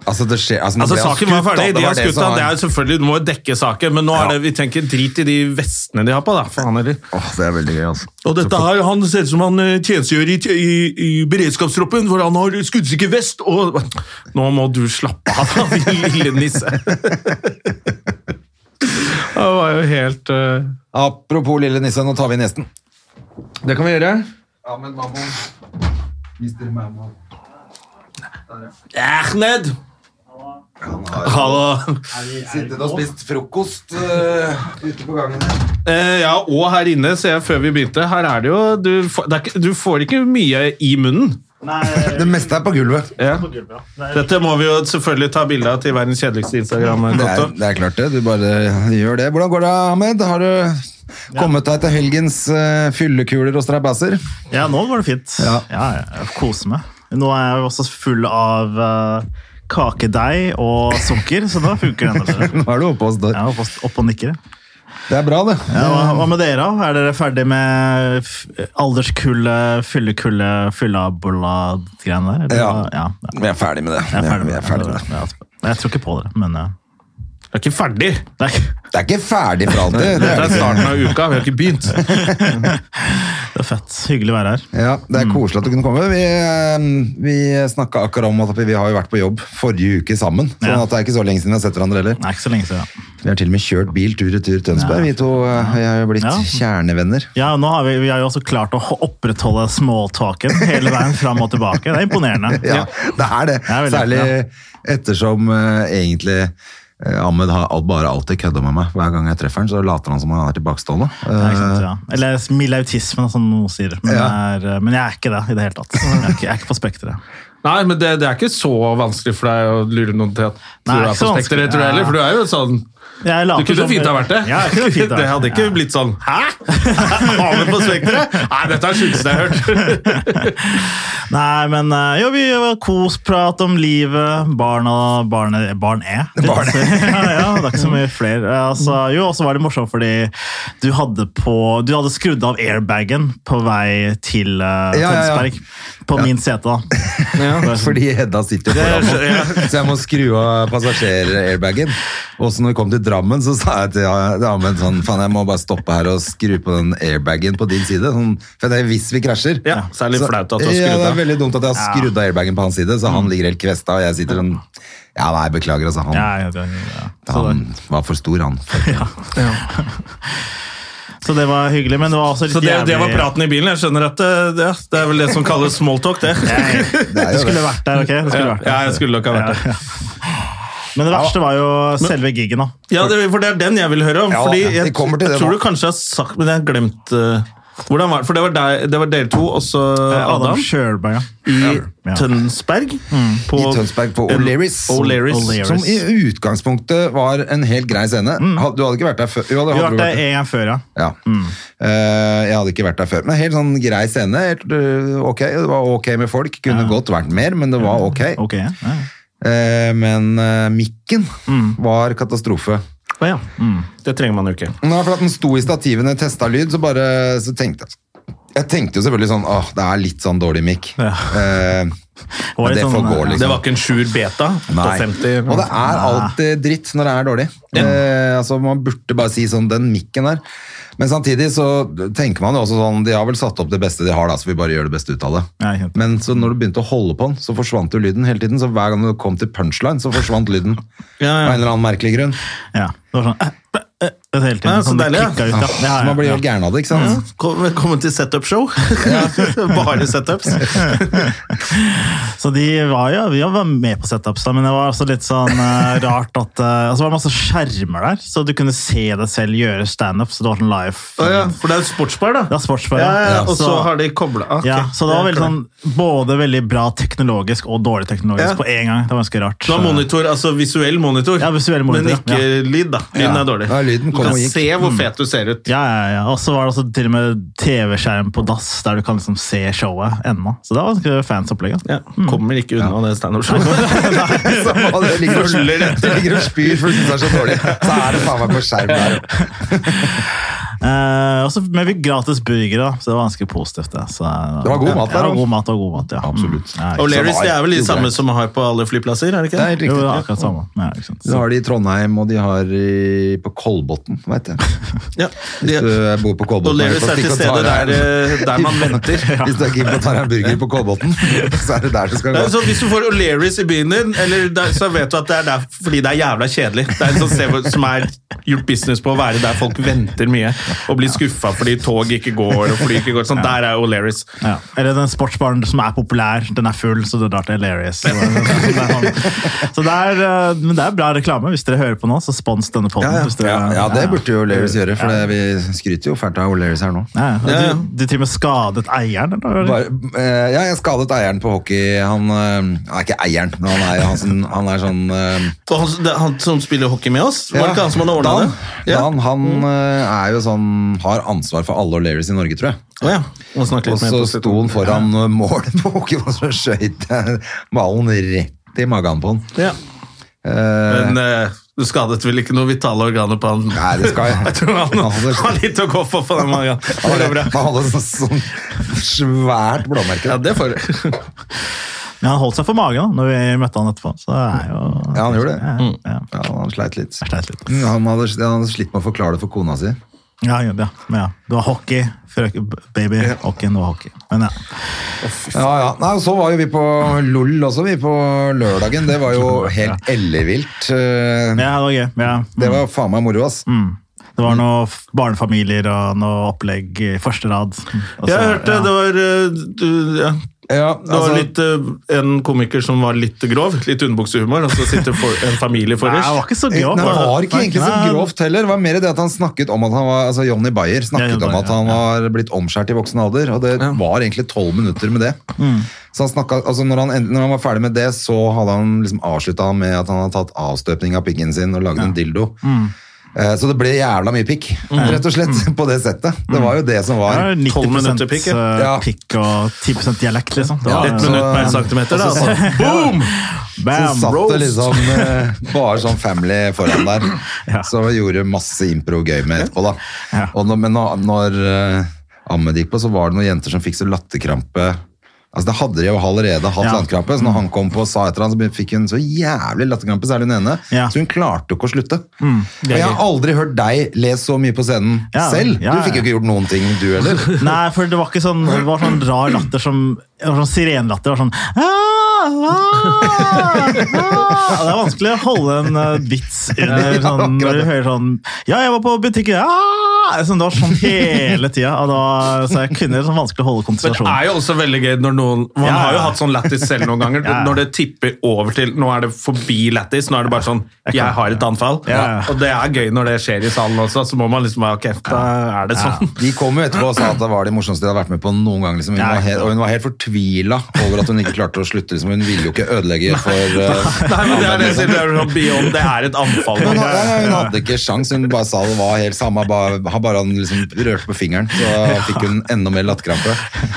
Speaker 2: Altså, det skjer... Altså, nå
Speaker 1: Altså,
Speaker 2: ble han
Speaker 1: Saken var
Speaker 2: skutt, da.
Speaker 1: ferdig,
Speaker 2: Det
Speaker 1: de har
Speaker 2: var det
Speaker 1: skutt
Speaker 2: som
Speaker 1: han.
Speaker 2: var-
Speaker 1: Det er jo selvfølgelig, Du må jo dekke saken, men nå er det, vi tenker drit i de vestene de har på. da, faen eller.
Speaker 2: Åh, det er veldig gøy, altså.
Speaker 1: Og dette her, Han ser ut som han eh, tjenestegjør i, i, i beredskapstroppen, hvor han har skuddsikker vest og Nå må du slappe av, da, din lille nisse. Det var jo helt eh,
Speaker 2: Apropos lille nisse, nå tar vi inn gjesten. Det kan vi gjøre. Ja, men hva må Mr. Mammo
Speaker 1: Ahmed!
Speaker 2: Han har
Speaker 1: Hallo.
Speaker 2: sittet og spist frokost eh, ute på gangen her.
Speaker 1: Eh, ja, og her inne, ser jeg før vi begynte, her er det jo Du, får- det er ikke, du får ikke mye i munnen.
Speaker 2: Det meste er på gulvet.
Speaker 1: Ja. Dette må vi jo selvfølgelig ta bilde av til verdens kjedeligste
Speaker 2: Det er,
Speaker 1: Instagram-konto.
Speaker 2: det er klart det. Du bare gjør det. Hvordan går det, Ahmed? Har du kommet deg til helgens eh, fyllekuler og strabasser?
Speaker 4: Ja, nå går det fint. Ja.
Speaker 2: Ja.
Speaker 4: jeg koser meg. Nå er jeg jo også full av eh, kakedeig og sukker, så nå funker altså. det. enda bedre.
Speaker 2: Nå er du oppe hos deg.
Speaker 4: Jeg er oppe opp og nikker. jeg.
Speaker 2: Det er bra, det.
Speaker 4: Ja, hva, hva med dere? da? Er dere ferdig med f- alderskullet, fyllekullet, fyllabolla-greiene der? eller?
Speaker 2: Ja.
Speaker 4: ja.
Speaker 2: Vi er ferdig med det.
Speaker 4: Jeg er ferdig med det.
Speaker 2: Vi er ferdig med det.
Speaker 4: Ja, altså, Jeg tror ikke på dere, men eh, ja.
Speaker 1: Jeg er ikke ferdig!
Speaker 4: Nei.
Speaker 2: Det er ikke ferdig for alltid. Det
Speaker 1: Dette er
Speaker 2: er det ikke.
Speaker 1: starten av uka, vi har ikke begynt.
Speaker 4: Det er fett. Hyggelig å være her.
Speaker 2: Ja, Det
Speaker 4: Mm.
Speaker 2: er koselig at du kunne komme. Vi, eh, vi snakka akkurat om at vi har jo vært på jobb forrige uke sammen. Sånn
Speaker 4: Ja.
Speaker 2: at det er ikke så lenge siden vi har sett hverandre heller.
Speaker 4: Det er ikke så lenge siden.
Speaker 2: Vi har til og med kjørt bil tur-retur Tønsberg. Vi to eh, vi har jo blitt
Speaker 4: Ja.
Speaker 2: kjernevenner.
Speaker 4: Ja, nå har vi, vi har jo også klart å ho- opprettholde smalltalken hele veien fram og tilbake. Det er imponerende.
Speaker 2: Ja, det er det.
Speaker 4: er veldig-
Speaker 2: Særlig ettersom eh, egentlig eh, Ahmed har alt- bare alltid kødda med meg. Hver gang jeg treffer han, så later han som han er tilbakestående. Eh,
Speaker 4: Ja, ikke
Speaker 1: Eh.
Speaker 4: sant, ja. Eller mild autisme, som noen sier. Men,
Speaker 2: Ja.
Speaker 4: det er, eh, men jeg er ikke det i det hele tatt. Jeg er ikke, jeg er ikke på spekteret.
Speaker 1: Nei, men det, det er ikke så vanskelig for deg å lure noen til at du
Speaker 4: Nei,
Speaker 1: er på
Speaker 4: ikke så
Speaker 1: spekteret,
Speaker 4: vanskelig.
Speaker 1: tror jeg
Speaker 4: Ja.
Speaker 1: heller. For du er jo sånn
Speaker 4: Jeg
Speaker 1: Du
Speaker 4: later
Speaker 1: kunne
Speaker 4: som-
Speaker 1: fint ha vært det.
Speaker 4: Ja, jeg kunne fint ha vært
Speaker 1: det hadde ikke
Speaker 4: Ja.
Speaker 1: blitt sånn Hæ?! Aner på spekteret?! Nei, dette er det sjukeste jeg har hørt.
Speaker 4: Nei, men eh, jo, vi har kosprat om livet, barna barne, Barn E.
Speaker 2: Barn E.
Speaker 4: ja, ja, det er ikke så mye flere. Eh, Altså, jo, og så var det morsomt fordi du hadde, på, du hadde skrudd av airbagen på vei til
Speaker 2: Ja,
Speaker 4: eh,
Speaker 2: ja, ja.
Speaker 4: Tønsberg. På min sete, da.
Speaker 2: Eh, Fordi Hedda sitter jo foran
Speaker 1: sånn. Det er- ja.
Speaker 2: meg, så jeg må skru av passasjer-airbagen. Og så når vi kom til Drammen, så sa jeg til til Ahmed sånn Faen, jeg må bare stoppe her og skru på den airbagen på din side. Sånn, for det er hvis vi krasjer.
Speaker 1: Ja, så er det litt
Speaker 2: Så-
Speaker 1: flaut at du har
Speaker 2: Ja,
Speaker 1: skrudd
Speaker 2: det er
Speaker 1: av. Mm.
Speaker 2: veldig dumt at jeg har skrudd av airbagen på hans side, så han ligger helt kvesta, og jeg sitter sånn Ja, nei, beklager, altså. Han,
Speaker 4: Ja, ja, ja, ja. Så,
Speaker 2: han var for stor, han.
Speaker 4: så det var hyggelig, men det var også litt
Speaker 1: Så det, det var
Speaker 4: jævlig-
Speaker 1: praten i bilen. Jeg skjønner at det, ja, det er vel det som kalles smalltalk, det.
Speaker 2: Det er
Speaker 4: Du
Speaker 2: jo det.
Speaker 4: skulle vært der, ok? Du skulle
Speaker 1: Ja,
Speaker 4: vært der.
Speaker 1: ja, jeg skulle nok ha vært det.
Speaker 4: Men det verste var jo selve gigen, da.
Speaker 1: Ja, det, for det er den jeg vil høre om.
Speaker 2: Ja,
Speaker 1: fordi
Speaker 2: vi
Speaker 1: jeg,
Speaker 2: kommer til det
Speaker 1: tror du
Speaker 2: nå.
Speaker 1: kanskje jeg har sagt Men jeg har glemt eh, hvordan var det? For det var, deg, det var dere to, og så Adam,
Speaker 4: Sjølberg, Eh, ja.
Speaker 1: i
Speaker 4: Ja.
Speaker 1: Tønsberg. På,
Speaker 2: I Tønsberg på
Speaker 1: en-
Speaker 2: O'Learys.
Speaker 1: O'Learys.
Speaker 4: O'Learys.
Speaker 2: Som i utgangspunktet var en helt grei scene. Ha- Du hadde ikke vært der før? Jo, det
Speaker 4: Vi
Speaker 2: hadde
Speaker 4: har
Speaker 2: du
Speaker 4: Mm. vært der en Mm. gang før, ja.
Speaker 2: Ja. Eh, jeg hadde ikke vært der før. Men helt sånn grei scene. Helt, eh, ok, Det var ok med folk. Kunne godt vært mer, men det var ok.
Speaker 4: Ok, ja. ja.
Speaker 2: Eh, men eh, mikken
Speaker 4: Mm.
Speaker 2: var katastrofe.
Speaker 1: Å ja. Det trenger man jo ikke.
Speaker 2: Nei, for at den sto i stativene, testa lyd, så bare så tenkte jeg Jeg tenkte jo selvfølgelig sånn Åh, det er litt sånn dårlig mikk.
Speaker 4: Ja.
Speaker 2: Eh,
Speaker 4: var
Speaker 2: men
Speaker 4: litt
Speaker 2: det
Speaker 4: sånn,
Speaker 2: får gå,
Speaker 4: eh,
Speaker 2: liksom.
Speaker 1: Det var ikke en sjuer beta.
Speaker 2: Nei.
Speaker 1: 850.
Speaker 2: Og det er alltid dritt når det er dårlig. Eh, altså Man burde bare si sånn Den mikken der. Men samtidig så tenker man jo også sånn De har vel satt opp det beste de har, da, så vi bare gjør det beste ut av det.
Speaker 4: Ja, ikke sant.
Speaker 2: Men så når du begynte å holde på den, så forsvant jo lyden hele tiden. Så hver gang du kom til punchline, så forsvant lyden.
Speaker 1: Ja, ja.
Speaker 2: Av en eller annen merkelig grunn.
Speaker 4: Ja, det var sånn eh, eh, eh, det hele tiden.
Speaker 1: Ja, så
Speaker 4: sånn, det
Speaker 1: deilig, ja.
Speaker 4: klikket ut, ja. Det
Speaker 2: Så
Speaker 4: har
Speaker 2: man
Speaker 4: jeg,
Speaker 2: blir
Speaker 4: ja.
Speaker 2: helt gæren av det, ikke sant?
Speaker 1: Kom- Velkommen til setup-show. Bare setups.
Speaker 4: Så de var jo vi var med på setups, da, men det var også litt sånn eh, rart at eh, altså, Det var masse skjermer der, så du kunne se deg selv gjøre standup. Så det var sånn live.
Speaker 1: Å ja, for det er jo sportsbar, da.
Speaker 4: Det var sportsbar,
Speaker 1: Ja, ja, og
Speaker 4: Så-
Speaker 1: så har de kobla Ok,
Speaker 4: ja, så det var
Speaker 1: er
Speaker 4: veldig
Speaker 1: klart.
Speaker 4: sånn, både veldig bra teknologisk og dårlig teknologisk
Speaker 1: Ja.
Speaker 4: på en gang. Det var ganske rart.
Speaker 1: Det var monitor, altså visuell monitor,
Speaker 4: Ja, visuell monitor,
Speaker 1: men ikke lyd, da. Lyden er dårlig.
Speaker 2: Ja, lyden
Speaker 1: du
Speaker 2: kom
Speaker 1: kan
Speaker 2: og gikk.
Speaker 1: se hvor fet du ser ut.
Speaker 4: Ja, ja, ja. Og så var det også til og med TV-skjerm på dass, der du kan liksom se showet ennå. Så det var ganske fancy opplegg. altså.
Speaker 1: Ja, Kommer ikke unna det standup-showet.
Speaker 2: Så man ligger og,
Speaker 1: Følger etter.
Speaker 2: ligger og spyr for du syns det er så dårlig. Så er det faen meg på skjerm der.
Speaker 4: Eh, og så men vi fikk gratis burger, da, så det var ganske positivt. Det, så,
Speaker 2: Det var god mat der,
Speaker 4: Ja, det
Speaker 2: da.
Speaker 4: var god mat, det var god mat ja.
Speaker 2: Absolutt.
Speaker 4: Mm. Ja, ikke sant.
Speaker 1: O'Learys det er vel de
Speaker 2: Jo,
Speaker 1: samme
Speaker 2: greit.
Speaker 1: som man har på alle flyplasser? er det ikke
Speaker 2: Det
Speaker 1: det?
Speaker 2: er helt
Speaker 4: jo, det
Speaker 2: riktig.
Speaker 4: er akkurat samme. Ja, ikke sant.
Speaker 2: Så
Speaker 4: Så,
Speaker 2: har de i Trondheim, og de har i, på Kolbotn, veit jeg.
Speaker 1: Ja.
Speaker 2: Hvis
Speaker 1: De-
Speaker 2: du eh, bor på Kolbotn
Speaker 1: O'Learys er til stede der, eh, der man venter.
Speaker 2: Hvis du er keen på å ta deg en burger på Kolbotn, så er det der du skal
Speaker 1: Det
Speaker 2: gå.
Speaker 1: er sånn, hvis du får O'Learys i byen din, eller der, så vet du at det er der fordi det er jævla kjedelig. Det er en sånn sted hvor- som er gjort business på å være der folk venter mye og blir skuffa fordi tog ikke går og fly ikke går. Sånn, Der er O'Learys.
Speaker 4: ja. Eller den sportsbaren som er populær, den er full, så det er dart hilarious. Så, det er sånn. så det, er, eh, men det er bra reklame. Hvis dere hører på nå, så spons denne poden.
Speaker 2: Ja, ja. ja, det burde jo O'Learys gjøre, for det, vi skryter jo fælt av O'Learys her nå.
Speaker 4: Ja, ja.
Speaker 1: Ja, ja.
Speaker 4: Du, du til og med skadet eieren, eller?
Speaker 2: Bare, eh, ja, jeg skadet eieren på hockey. Han, eh, han er ikke eieren, men han er, han, som- han er sånn eh,
Speaker 1: Og han, det, han som spiller hockey med oss, var det ikke han som hadde ordna
Speaker 2: Dan.
Speaker 1: det? Ja.
Speaker 2: Dan, han eh, er jo sånn Har ansvar for alle O'Learys i Norge, tror jeg.
Speaker 1: Å ja. Må snakke
Speaker 2: Og
Speaker 1: litt mer
Speaker 2: så
Speaker 1: positivt.
Speaker 2: sto han foran målet på hockey, og så skjøt jeg ballen rett i magen på han.
Speaker 1: Ja.
Speaker 2: Eh,
Speaker 1: Men eh, det skadet vel ikke noe vitale organer på han?
Speaker 2: Nei, det skal
Speaker 1: Jeg tror han har litt å gå for på den magen.
Speaker 2: Han
Speaker 1: Det går
Speaker 2: hadde,
Speaker 1: bra.
Speaker 2: han hadde sånn, sånn svært blåmerke.
Speaker 1: Ja, det får
Speaker 4: Men han holdt seg for magen da når vi møtte han etterpå. Så det er jo...
Speaker 2: Ja, han gjorde det. Mm.
Speaker 4: Ja, ja.
Speaker 2: Ja, han sleit litt.
Speaker 4: Jeg sleit litt.
Speaker 2: Mm, Han hadde, han hadde slitt med å forklare det for kona si.
Speaker 4: Ja, han gjorde det, ja. Men ja. Det var hockey, frøken, baby, hockeyen, det var hockey. Men ja.
Speaker 2: Ja, ja. Nei, og så var jo vi på LOL også, vi, på lørdagen. Det var jo helt ellevilt. Eh,
Speaker 4: ja, det var gøy. Ja.
Speaker 2: Det var faen meg moro, ass.
Speaker 1: Mm.
Speaker 4: Det var noen f- barnefamilier og noe opplegg i første rad. Og så-
Speaker 1: Jeg hørte det var eh, du- ja.
Speaker 2: Ja,
Speaker 1: Det var
Speaker 2: altså-
Speaker 1: litt, eh, en komiker som var litt grov. Litt underbuksehumor, og så sitter for, en familie
Speaker 4: Nei, det var
Speaker 1: forrest.
Speaker 4: ikke så
Speaker 2: Nei,
Speaker 4: grovt.
Speaker 2: det var ikke egentlig så
Speaker 4: Nei,
Speaker 2: grovt heller. Det var mer det at han snakket om at han var altså Johnny Bayer snakket
Speaker 4: Ja, Johnny
Speaker 2: om at
Speaker 4: Bayer,
Speaker 2: han
Speaker 4: ja.
Speaker 2: var blitt omskjært i voksen alder, og det var egentlig tolv minutter med det. Så han snakket, altså når, han, end- når han var ferdig med det, så hadde han liksom avslutta med at han hadde tatt avstøpning av pikken sin og lagd en dildo.
Speaker 4: Mm.
Speaker 2: Eh, Så det ble jævla mye pikk, rett og slett, på det settet. Det var jo det som
Speaker 4: Det
Speaker 2: var.
Speaker 4: var
Speaker 1: 12
Speaker 4: 90
Speaker 1: minutter pikk, ja.
Speaker 4: eh,
Speaker 2: Ja.
Speaker 4: pikk og 10 dialekt, liksom. Det var,
Speaker 2: Ja,
Speaker 1: Ett
Speaker 2: så-
Speaker 1: minutt per centimeter, da.
Speaker 2: Og så
Speaker 1: altså. Boom!
Speaker 2: Så
Speaker 4: bam,
Speaker 2: satt det
Speaker 4: roast.
Speaker 2: liksom eh, bare sånn family foran der.
Speaker 4: Ja.
Speaker 2: Så gjorde masse impro gøy med etterpå, da.
Speaker 4: Ja.
Speaker 2: Og når, men når, når eh, Ahmed gikk på, så var det noen jenter som fikk så latterkrampe. Altså, det hadde de jo allerede hatt
Speaker 4: Ja. Mm.
Speaker 2: latterkrampe, så når han kom på og sa et eller annet, så fikk hun så jævlig latterkrampe, særlig hun ene.
Speaker 4: Ja. Mm.
Speaker 2: Så hun klarte jo ikke å slutte. Og jeg har aldri hørt deg le så mye på scenen
Speaker 4: Ja,
Speaker 2: selv.
Speaker 4: ja, ja.
Speaker 2: Du fikk jo ikke gjort noen ting, du heller.
Speaker 4: Nei, for det var ikke sånn Det var sånn rar latter som det var sånn Sirenlatter. Det var sånn «Ah, ah, ah». Det er vanskelig å holde en eh, vits under sånn, når du hører sånn Ja, jeg var på butikken ah! sånn, Det var sånn hele tida. og det var- Så jeg kunne liksom vanskelig å holde
Speaker 1: Men det
Speaker 4: konsentrasjonen.
Speaker 1: er jo også veldig gøy når noen Man
Speaker 4: Ja, ja,
Speaker 1: har jo
Speaker 4: ja.
Speaker 1: hatt sånn lættis selv noen ganger.
Speaker 4: Ja, ja.
Speaker 1: Når det tipper over til Nå er det forbi lættis. Nå er det bare sånn Jeg har et anfall.
Speaker 4: Ja, ja.
Speaker 1: Og det er gøy når det skjer i salen også. Så må man liksom være, Ok, da er det sånn.
Speaker 2: De kom jo etterpå og sa at det var det morsomste de hadde vært med på noen gang. Liksom. Hun
Speaker 4: Ja.
Speaker 2: var helt, og hun var helt fortvila over at hun ikke klarte å slutte. Liksom. Hun ville jo ikke ødelegge for eh,
Speaker 1: Nei, men det er det jeg sier. det er sånn Beyond, det er et anfall.
Speaker 2: hun, hadde, hun hadde ikke sjans, hun bare sa det var helt samme, bare, bare han liksom rørte på fingeren, så fikk hun enda mer latterkrampe.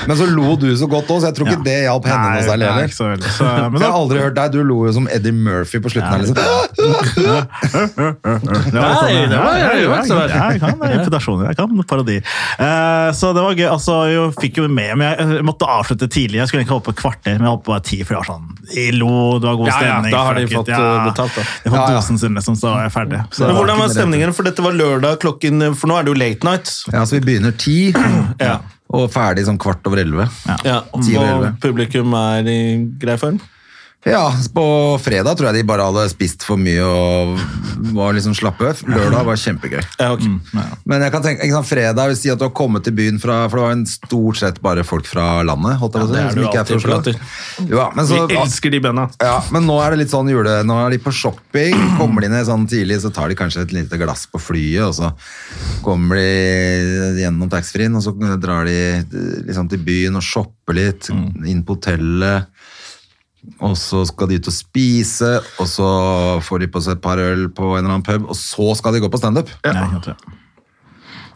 Speaker 2: Men så lo du så godt òg, så jeg tror ikke det hjalp henne
Speaker 4: Nei,
Speaker 2: noe særlig
Speaker 4: det er
Speaker 2: heller.
Speaker 4: ikke så veldig. Så, men
Speaker 1: eh,
Speaker 2: Jeg
Speaker 4: da,
Speaker 2: har aldri hørt deg, du lo jo som Eddie Murphy på slutten her, liksom.
Speaker 4: Det var
Speaker 1: Nei,
Speaker 4: sånn,
Speaker 1: det var-
Speaker 4: ja, ja,
Speaker 1: det var ikke så
Speaker 4: ja,
Speaker 1: verst.
Speaker 4: Jeg kan det er imputasjoner, jeg kan parodier. Eh, Så det var gøy. altså Jeg fikk jo med, men jeg- jeg måtte avslutte tidlig. Jeg skulle egentlig holde på et kvarter, men jeg holdt på bare ti, for det var sånn I lo, det var god
Speaker 1: Ja, ja,
Speaker 4: stemning.
Speaker 1: da har de
Speaker 4: fuck it,
Speaker 1: fått, eh, betalt, da.
Speaker 4: De har fått
Speaker 2: Ja, ja.
Speaker 4: dosen sin, liksom, så da var jeg ferdig. Så,
Speaker 1: Men hvordan var stemningen? For dette var lørdag klokken For nå er det jo late night.
Speaker 2: Ja, så vi begynner ti,
Speaker 1: Ja.
Speaker 2: og ferdig sånn kvart over elleve.
Speaker 1: Ja,
Speaker 2: Ti over
Speaker 1: og
Speaker 2: elleve.
Speaker 1: publikum er i grei form.
Speaker 2: Ja, på fredag tror jeg de bare hadde spist for mye og var liksom slappe. Lørdag var kjempegøy.
Speaker 1: Ja, ok.
Speaker 2: Men jeg kan tenke, ikke sant, fredag vil si at du har kommet til byen fra For det var jo stort sett bare folk fra landet. Holdt jeg på å si,
Speaker 1: det er
Speaker 2: som
Speaker 1: det jo
Speaker 2: ikke fra
Speaker 1: alltid på
Speaker 2: Oslo.
Speaker 1: latter.
Speaker 2: Jo, ja, men,
Speaker 1: Vi
Speaker 2: så,
Speaker 1: elsker de banda.
Speaker 2: ja, men nå er det litt sånn jule... Nå er de på shopping, kommer de ned sånn tidlig, så tar de kanskje et lite glass på flyet, og så kommer de gjennom taxfree-en, og så drar de eh, liksom til byen og shopper litt,
Speaker 1: Mm.
Speaker 2: inn på hotellet. Og så skal de ut og spise, og så får de på seg et par øl på en eller annen pub, og så skal de gå på standup.
Speaker 4: Nei, jeg tror det.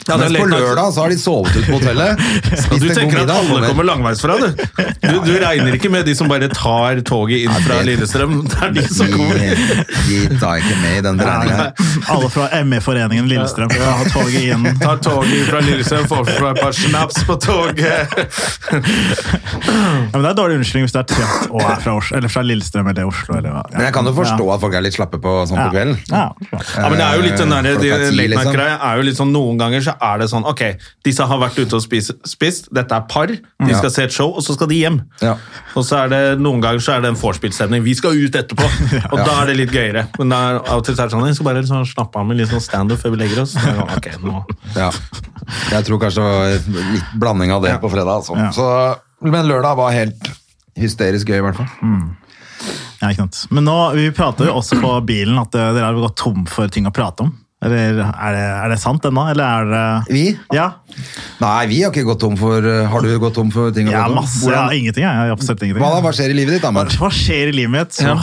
Speaker 1: Ja, det er
Speaker 2: Mens på
Speaker 1: late night.
Speaker 2: lørdag så har de sovet ute på hotellet. Spist
Speaker 1: Du
Speaker 2: en god
Speaker 1: tenker at
Speaker 2: middag.
Speaker 1: alle kommer langveisfra, du. du. Du regner ikke med de som bare tar toget inn fra
Speaker 2: det-
Speaker 1: Lillestrøm. Det er de som kommer.
Speaker 2: De, de tar ikke med i den beregninga.
Speaker 4: Alle fra ME-foreningen Lillestrøm. Ja, toget igjen.
Speaker 1: Tar toget fra Lillestrøm, får fra et par snaps på toget.
Speaker 4: Ja, men det er dårlig unnskyldning hvis du er trøtt og er fra, Oslo, eller fra Lillestrøm eller Oslo. Eller, hva. ja.
Speaker 2: Men jeg kan jo forstå at folk er litt slappe på sånn på kvelden.
Speaker 4: Ja. Ja.
Speaker 1: Ja, men det er jo litt den der,
Speaker 2: Eh,
Speaker 1: de
Speaker 2: klokka ti,
Speaker 1: late
Speaker 2: liksom.
Speaker 1: night-greia er jo litt sånn Noen ganger så er det sånn Ok, disse har vært ute og spist, spist dette er par, de skal se et show, og så skal de hjem.
Speaker 2: Ja.
Speaker 1: Og så er det noen ganger så er det en vorspiel-stemning. Vi skal ut etterpå! Og da er det litt gøyere. Men da er av og til så er det sånn, vi skal bare liksom slappe av med litt sånn standup før vi legger oss. Så er det sånn, Ok, nå
Speaker 2: Ja. Jeg tror kanskje det var litt blanding av det på fredag. Altså. Så, men lørdag var helt hysterisk gøy, i hvert fall.
Speaker 4: Ja, ikke sant. Men nå, vi prater jo også på bilen at eh, dere har gått tom for ting å prate om. Eller er det, er det sant ennå, eller er det
Speaker 2: Vi?
Speaker 4: Ja,
Speaker 2: Nei, vi har ikke gått tom for eh, Har du gått tom for ting? å
Speaker 4: ja
Speaker 2: gå tom?
Speaker 4: masse. Ja,
Speaker 2: Hvordan-
Speaker 4: ingenting, jeg. jeg har absolutt ingenting.
Speaker 2: Hva da? Hva skjer i livet ditt, Amar?
Speaker 4: Hva skjer i livet mitt? Så,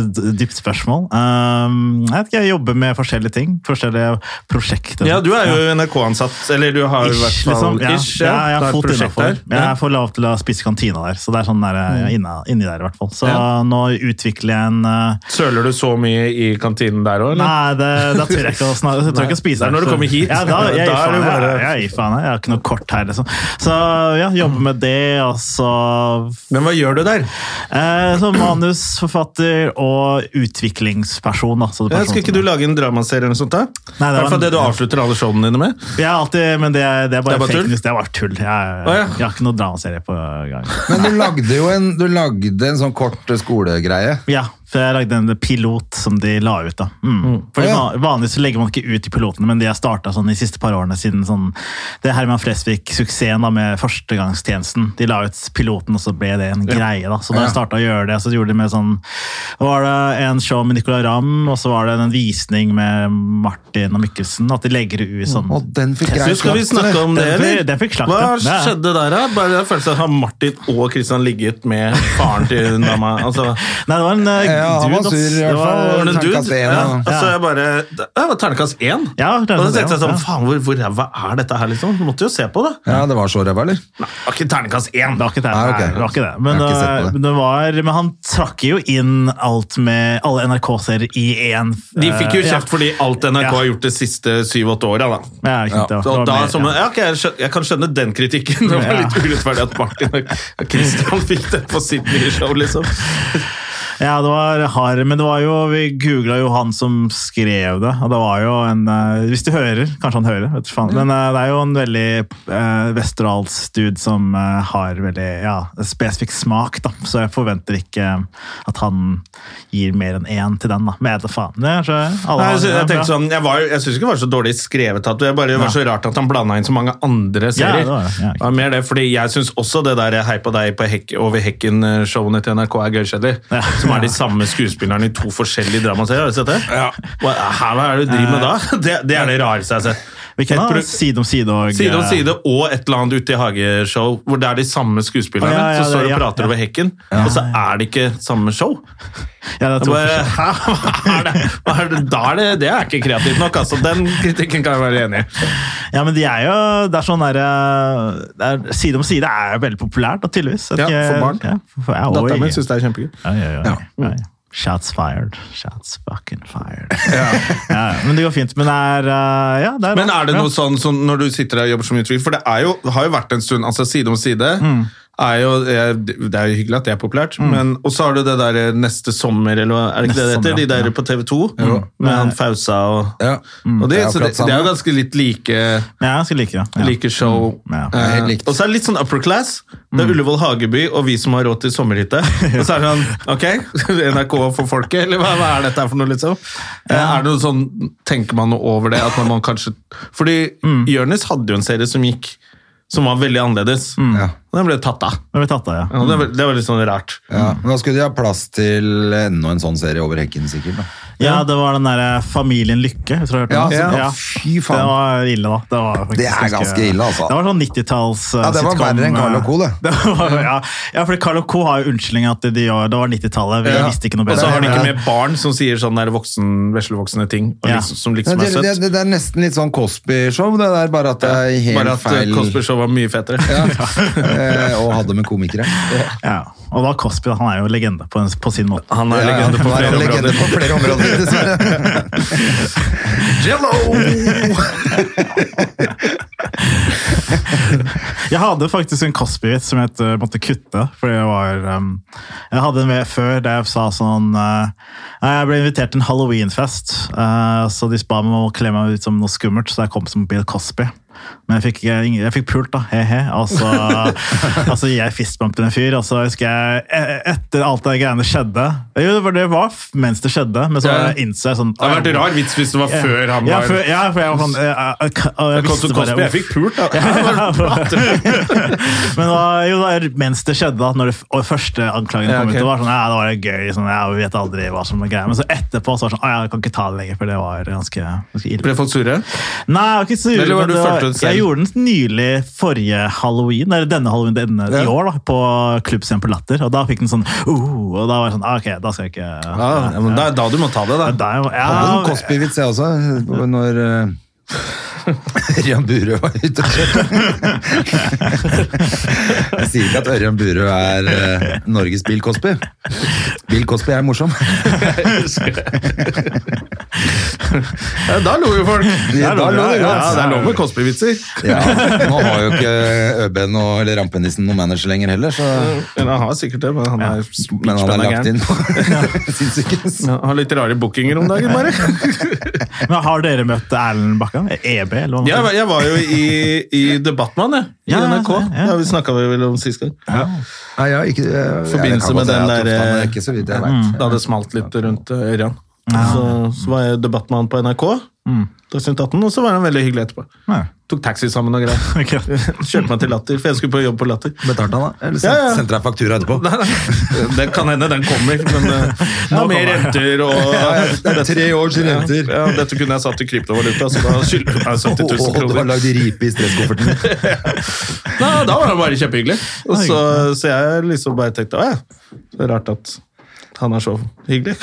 Speaker 4: et dypt spørsmål. Um, jeg vet ikke, jeg jobber med forskjellige ting. Forskjellige prosjekter.
Speaker 1: Ja, du er jo NRK-ansatt, eller du har i hvert
Speaker 4: Ish,
Speaker 1: fall
Speaker 4: liksom. Ja,
Speaker 1: ish,
Speaker 4: ja, jeg
Speaker 1: du
Speaker 4: er
Speaker 1: har et
Speaker 4: fot
Speaker 1: prosjekt
Speaker 4: innafor.
Speaker 1: der. Mm.
Speaker 4: Jeg er for lav til å spise i kantina der, så det er sånn der, jeg er inne, inni der i hvert fall. Så
Speaker 1: Ja.
Speaker 4: nå utvikler jeg en eh,
Speaker 1: Søler du så mye i kantinen der òg, eller?
Speaker 4: Nei, det, da tør jeg ikke å snakke. Jeg tør ikke å spise
Speaker 1: Det er når du
Speaker 4: så-
Speaker 1: kommer hit.
Speaker 4: Ja, da,
Speaker 1: Da er
Speaker 4: jeg, er
Speaker 1: det
Speaker 4: faen,
Speaker 1: bare-
Speaker 4: jeg, jeg gir faen. Jeg har ikke noe kort her, liksom. Så ja, jobber med det, og så
Speaker 1: Men hva gjør du der?
Speaker 4: eh, Som manusforfatter og utviklingsperson. Da, så det
Speaker 1: Ja,
Speaker 4: er person
Speaker 1: skal ikke
Speaker 4: som-
Speaker 1: du lage en dramaserie eller noe sånt? da?
Speaker 4: Nei,
Speaker 1: I
Speaker 4: det var
Speaker 1: hvert fall
Speaker 4: en-
Speaker 1: det du avslutter alle showene dine med?
Speaker 4: Jeg er alltid, men det er, det er bare,
Speaker 1: Det er bare
Speaker 4: fake
Speaker 1: tull?
Speaker 4: news. Det er bare tull. Jeg, jeg,
Speaker 1: Å, ja.
Speaker 4: jeg har ikke noe dramaserie på gang.
Speaker 2: Men du lagde jo en, du lagde en sånn kort skolegreie.
Speaker 4: Ja, for jeg lagde en pilot som de la ut. da. Mm.
Speaker 2: Å,
Speaker 4: Fordi
Speaker 2: ja.
Speaker 4: van- Vanligvis så legger man ikke ut i pilotene, men det jeg starta sånn de siste par årene siden sånn, det er Herman Flesvig-suksessen da med førstegangstjenesten. De la ut piloten, og så ble det en greie. da. Så da
Speaker 2: Ja.
Speaker 4: jeg starta å gjøre det, så gjorde de med sånn var det en show med Nicolay Ramm, og så var det en visning med Martin og Mikkelsen. At de legger ut sånn
Speaker 2: Og den fikk
Speaker 1: Du,
Speaker 2: grei
Speaker 1: skal vi
Speaker 2: slakt, eller?
Speaker 1: snakke om det,
Speaker 4: Den fikk-
Speaker 1: eller?
Speaker 4: den fikk slakt,
Speaker 1: Hva
Speaker 4: ja. Det er-
Speaker 1: skjedde der, da? Bare jeg følelsen av at Martin og Kristian ligget med faren til hun dama. Altså,
Speaker 4: Nei, det var en eh,
Speaker 2: Ja, han var
Speaker 4: dude, ass.
Speaker 2: sur i hvert
Speaker 4: Det var-
Speaker 2: fall.
Speaker 1: var det en dude?
Speaker 2: Terningkast én,
Speaker 1: Ja, og
Speaker 2: ja.
Speaker 1: så jeg bare Det var terningkast én!
Speaker 4: Ja,
Speaker 1: og
Speaker 4: terningkast
Speaker 1: da tenkte
Speaker 4: én,
Speaker 1: jeg sånn,
Speaker 4: ja.
Speaker 1: faen, hvor, hvor ræva er dette her, liksom? Måtte jo se på det.
Speaker 2: Ja, det var så ræva,
Speaker 1: Nei,
Speaker 2: eller?
Speaker 1: det var ikke terningkast én.
Speaker 4: Det var ikke det.
Speaker 2: Nei, Ah, ok.
Speaker 4: Nei, det var ikke det. Men,
Speaker 2: Jeg har ikke sett på
Speaker 4: eh,
Speaker 2: det.
Speaker 4: men det var, men han trakk jo inn alt med alle NRK-serier i én.
Speaker 1: De fikk jo
Speaker 4: eh,
Speaker 1: kjeft
Speaker 4: ja.
Speaker 1: fordi alt NRK
Speaker 4: Ja.
Speaker 1: har gjort de siste syv-åtte åra, da.
Speaker 4: Ja, ikke sant,
Speaker 2: Ja,
Speaker 4: det var-
Speaker 1: Og
Speaker 4: det var
Speaker 1: da,
Speaker 4: mer-
Speaker 1: som, ja, ok, jeg, skjø- jeg kan skjønne den kritikken. Det var
Speaker 4: Ja.
Speaker 1: litt urettferdig at Martin og Kristian fikk det på sitt nye show, liksom.
Speaker 4: Ja, det var hard, men det var jo, vi googla jo han som skrev det. Og det var jo en eh, Hvis du hører, kanskje han hører, vet du faen. Men eh, det er jo en veldig uh, Westerdals-dude som eh, har veldig ja, spesifikk smak, da. Så jeg forventer ikke eh, at han gir mer enn én til den, da. Men jeg vet da faen. Det er så, alle
Speaker 1: Nei, jeg, sy-
Speaker 4: har-
Speaker 1: jeg
Speaker 4: det er
Speaker 1: tenkte
Speaker 4: bra.
Speaker 1: sånn, jeg, var jo- jeg synes ikke det var så dårlig skrevet at det bare var
Speaker 4: Ja.
Speaker 1: så rart at han blanda inn så mange andre serier.
Speaker 4: det var det, ja.
Speaker 1: det var mer det, fordi jeg synes også det der Hei på deg på hekk, over hekken-showene til NRK er gøykjedelig.
Speaker 4: Ja.
Speaker 1: Som er de samme skuespillerne i to forskjellige dramaserier. Har du sett det? Hva hva er det du driver med da? Det, det er det rareste jeg har sett.
Speaker 4: Vi kan
Speaker 1: Et
Speaker 4: ha
Speaker 1: pro-
Speaker 4: side om side og
Speaker 1: Side om side og et eller annet ute i hageshow hvor det er de samme skuespillerne.
Speaker 4: Ja, ja,
Speaker 1: så står de
Speaker 4: det-
Speaker 1: og
Speaker 4: ja,
Speaker 1: prater
Speaker 4: ja.
Speaker 1: over hekken, og så er det ikke samme show.
Speaker 4: Ja, det er
Speaker 1: Jeg
Speaker 4: to
Speaker 1: bare,
Speaker 4: forskjellige.
Speaker 1: Hæ, hva er det? Hva er det? Da er det, det er ikke kreativt nok. Altså, den kritikken kan jeg være enig i.
Speaker 4: Ja, men de er jo Det er sånn der, eh, det er, Side om side er jo veldig populært, da, tydeligvis. Jeg vet
Speaker 1: Ja,
Speaker 4: ikke-
Speaker 1: for barn.
Speaker 4: Ja, for, ja, oi.
Speaker 1: Datteren min syns det er kjempegøy.
Speaker 4: Oi, oi, oi. Oi. Shots fired. Shots fucking fired. ja. men det går fint. Men det er eh, Ja, det er
Speaker 1: Men er det
Speaker 4: ja.
Speaker 1: noe sånn som når du sitter der og jobber som utvikler, for det er jo, har jo vært en stund, altså side om side,
Speaker 4: Mm.
Speaker 1: er jo, det er jo hyggelig at det er populært, men, og så har du det der neste sommer, eller hva- er det ikke det
Speaker 4: Neste
Speaker 1: det heter?
Speaker 4: sommer, ja.
Speaker 1: De der på TV 2, med han Fausa og...
Speaker 2: Ja.
Speaker 4: Mm.
Speaker 1: Og det,
Speaker 2: Mm. Det er
Speaker 1: så det,
Speaker 2: akkurat
Speaker 1: det er jo
Speaker 2: samme.
Speaker 1: ganske litt like,
Speaker 4: Ja, jeg skulle like det. Ja.
Speaker 1: like show.
Speaker 2: Mm.
Speaker 4: Ja.
Speaker 1: Eh,
Speaker 2: Helt likt. Mm.
Speaker 1: og så er det litt sånn upper class. Det er Ullevål Hageby og vi som har råd til sommerhytte. Og så er det sånn, ok, NRK for folket, eller hva, hva er dette her for noe, liksom? Eh, Er det noe sånn, tenker man noe over det, at man må kanskje... Fordi
Speaker 2: Mm.
Speaker 1: Jørnes hadde jo en serie som gikk, som var veldig annerledes.
Speaker 2: Ja.
Speaker 1: Og den ble tatt av.
Speaker 4: Det blir tatt av, ja.
Speaker 1: Og
Speaker 2: Mm.
Speaker 1: det, var- det var litt sånn rart.
Speaker 2: Ja, men da skulle de ha plass til enda en sånn serie over hekken, sikkert. da.
Speaker 4: ja, det var den derre Familien Lykke. Jeg tror jeg
Speaker 2: Ja,
Speaker 4: hørte
Speaker 2: så-
Speaker 4: om den.
Speaker 2: ja, fy faen.
Speaker 4: Det var ille, da. Det, var faktisk
Speaker 2: Det er ganske ille, altså.
Speaker 4: Det var sånn 90-talls eh,
Speaker 2: Ja, det var
Speaker 4: sitcom,
Speaker 2: verre enn Carl
Speaker 4: eh,
Speaker 2: og Co, det.
Speaker 4: Det var, ja. ja, for Carl og Co har jo unnskyldning at de, var- det var 90-tallet. Vi
Speaker 2: Ja.
Speaker 4: visste ikke noe
Speaker 1: Og så
Speaker 4: bedre.
Speaker 1: har de ikke med barn som sier sånn der voksen, veslevoksne ting, og
Speaker 4: Ja.
Speaker 1: liksom, som
Speaker 2: Ja,
Speaker 1: liksom er
Speaker 2: det, det,
Speaker 1: søtt.
Speaker 2: det, det er nesten litt sånn Cosby-show, det der, bare at det er helt
Speaker 1: Bare at eh,
Speaker 2: feil
Speaker 1: Cosby Show var mye fetere.
Speaker 2: Ja. Eh, Og hadde med komikere.
Speaker 4: Ja. Og da Cosby, da, han er jo legende på, en, på sin måte.
Speaker 1: Han er
Speaker 2: Ja, ja,
Speaker 1: legende på
Speaker 2: han
Speaker 1: flere
Speaker 2: er en legende
Speaker 1: områder.
Speaker 2: på flere områder, dessverre.
Speaker 1: Jello!
Speaker 4: Jeg hadde faktisk en Cosby-vits som jeg eh, måtte kutte. Fordi jeg var um, Jeg hadde en ved før der jeg sa sånn eh, «Nei, Jeg ble invitert til en halloweenfest, eh, så de ba meg om å kle meg ut som noe skummelt, så jeg kom som Bill Cosby. Men jeg fikk, jeg, jeg fikk pult, da. He-he. Og så altså, jeg fistbumpet en fyr, og så husker jeg e- Etter alt det greiene skjedde Jo, det var, det var f- mens det skjedde, men så
Speaker 1: Ja.
Speaker 4: innså jeg sånn
Speaker 1: Det hadde vært en rar vits hvis det var før han
Speaker 4: ja,
Speaker 1: var
Speaker 4: før, ja, for jeg var sånn eh, eh, og jeg
Speaker 1: Jeg kom
Speaker 4: visste
Speaker 1: til
Speaker 4: bare-
Speaker 1: Cosby, jeg fikk pult, da.
Speaker 4: Ja, Men da, jo, da, mens det skjedde, da, når det, f- og første anklagen
Speaker 1: Ja,
Speaker 4: kom
Speaker 1: ok.
Speaker 4: ut, det var sånn, ja, det var det gøy, sånn, ja, vi vet aldri hva som er greia. Men så etterpå så var det sånn, «Å, ja, jeg kan ikke ta det lenger, for det var ganske, ganske ille.
Speaker 1: Ble folk sure?
Speaker 4: Nei, jeg var ikke sur.
Speaker 1: Eller var
Speaker 4: men
Speaker 1: du
Speaker 4: det
Speaker 1: følte Nordtun selv.
Speaker 4: Jeg gjorde den nylig forrige halloween, eller denne halloween denne, i
Speaker 1: Ja.
Speaker 4: år, da, på Klubbscenen på Latter. Og da fikk den sånn uh, Og da var jeg sånn ah, Ok, da skal jeg ikke
Speaker 1: ja, ja, men det er da du må ta det, da.
Speaker 4: Da jeg var- ja,
Speaker 2: Hadde sånn Cosby-vits, jeg også, når eh, Ørjan Burøe var ute og kjørte. jeg sier ikke at Ørjan Burøe er eh, Norges Bill Cosby. Bill Cosby er morsom.
Speaker 1: Ja, da lo jo folk.
Speaker 2: Ja, da lo
Speaker 1: ja,
Speaker 2: de
Speaker 1: ja,
Speaker 2: godt.
Speaker 1: det er lov med Cosby-vitser.
Speaker 2: Ja, nå har jo ikke ØB noe, eller Rampenissen noen manager lenger heller, så,
Speaker 1: Eller han har sikkert det, men han er
Speaker 2: men han er
Speaker 1: spenna
Speaker 2: lagt
Speaker 1: gæren.
Speaker 2: inn på sinnssykehus.
Speaker 1: Ja, har litt rare bookinger om dagen, bare.
Speaker 4: Men har dere møtt Erlend Bakkan? EB, eller hva man
Speaker 1: Jeg, var- jeg var jo i, i Debattmann, jeg. I
Speaker 4: Ja, ja,
Speaker 1: NRK.
Speaker 4: ja.
Speaker 1: Ja, vi snakka vel om sist gang.
Speaker 2: Nei, ja, ikke, jeg,
Speaker 1: Forbindelse
Speaker 2: jeg kan godt
Speaker 1: med
Speaker 2: si
Speaker 1: den der,
Speaker 2: at Toftan er
Speaker 1: eh,
Speaker 2: Ikke så vidt jeg vet.
Speaker 1: Da det smalt litt rundt eh, Ørjan. Så, så var jeg Debattmann på NRK, Dagsnytt 18, og så var han veldig hyggelig etterpå.
Speaker 4: Ja.
Speaker 1: Tok taxi sammen og greier.
Speaker 4: Ok.
Speaker 1: Kjørte meg til Latter, for jeg skulle på jobb på Latter.
Speaker 2: Betalte han da? Eller
Speaker 1: Ja, ja.
Speaker 2: sendte- sendte deg faktura etterpå?
Speaker 1: Nei, nei. Det kan hende den kommer, men eh, det var mer
Speaker 4: kommer
Speaker 1: renter og
Speaker 2: Det er tre års renter.
Speaker 1: Ja, dette kunne jeg satt i kryptovaluta, så da skylder du meg 70
Speaker 2: Åh,
Speaker 1: 000
Speaker 2: du har
Speaker 1: kroner.
Speaker 2: lagd ripe i stresskofferten.
Speaker 1: Nei, da var det bare kjempehyggelig. Og så, så jeg liksom bare tenkte å ja, det er rart at han er så hyggelig.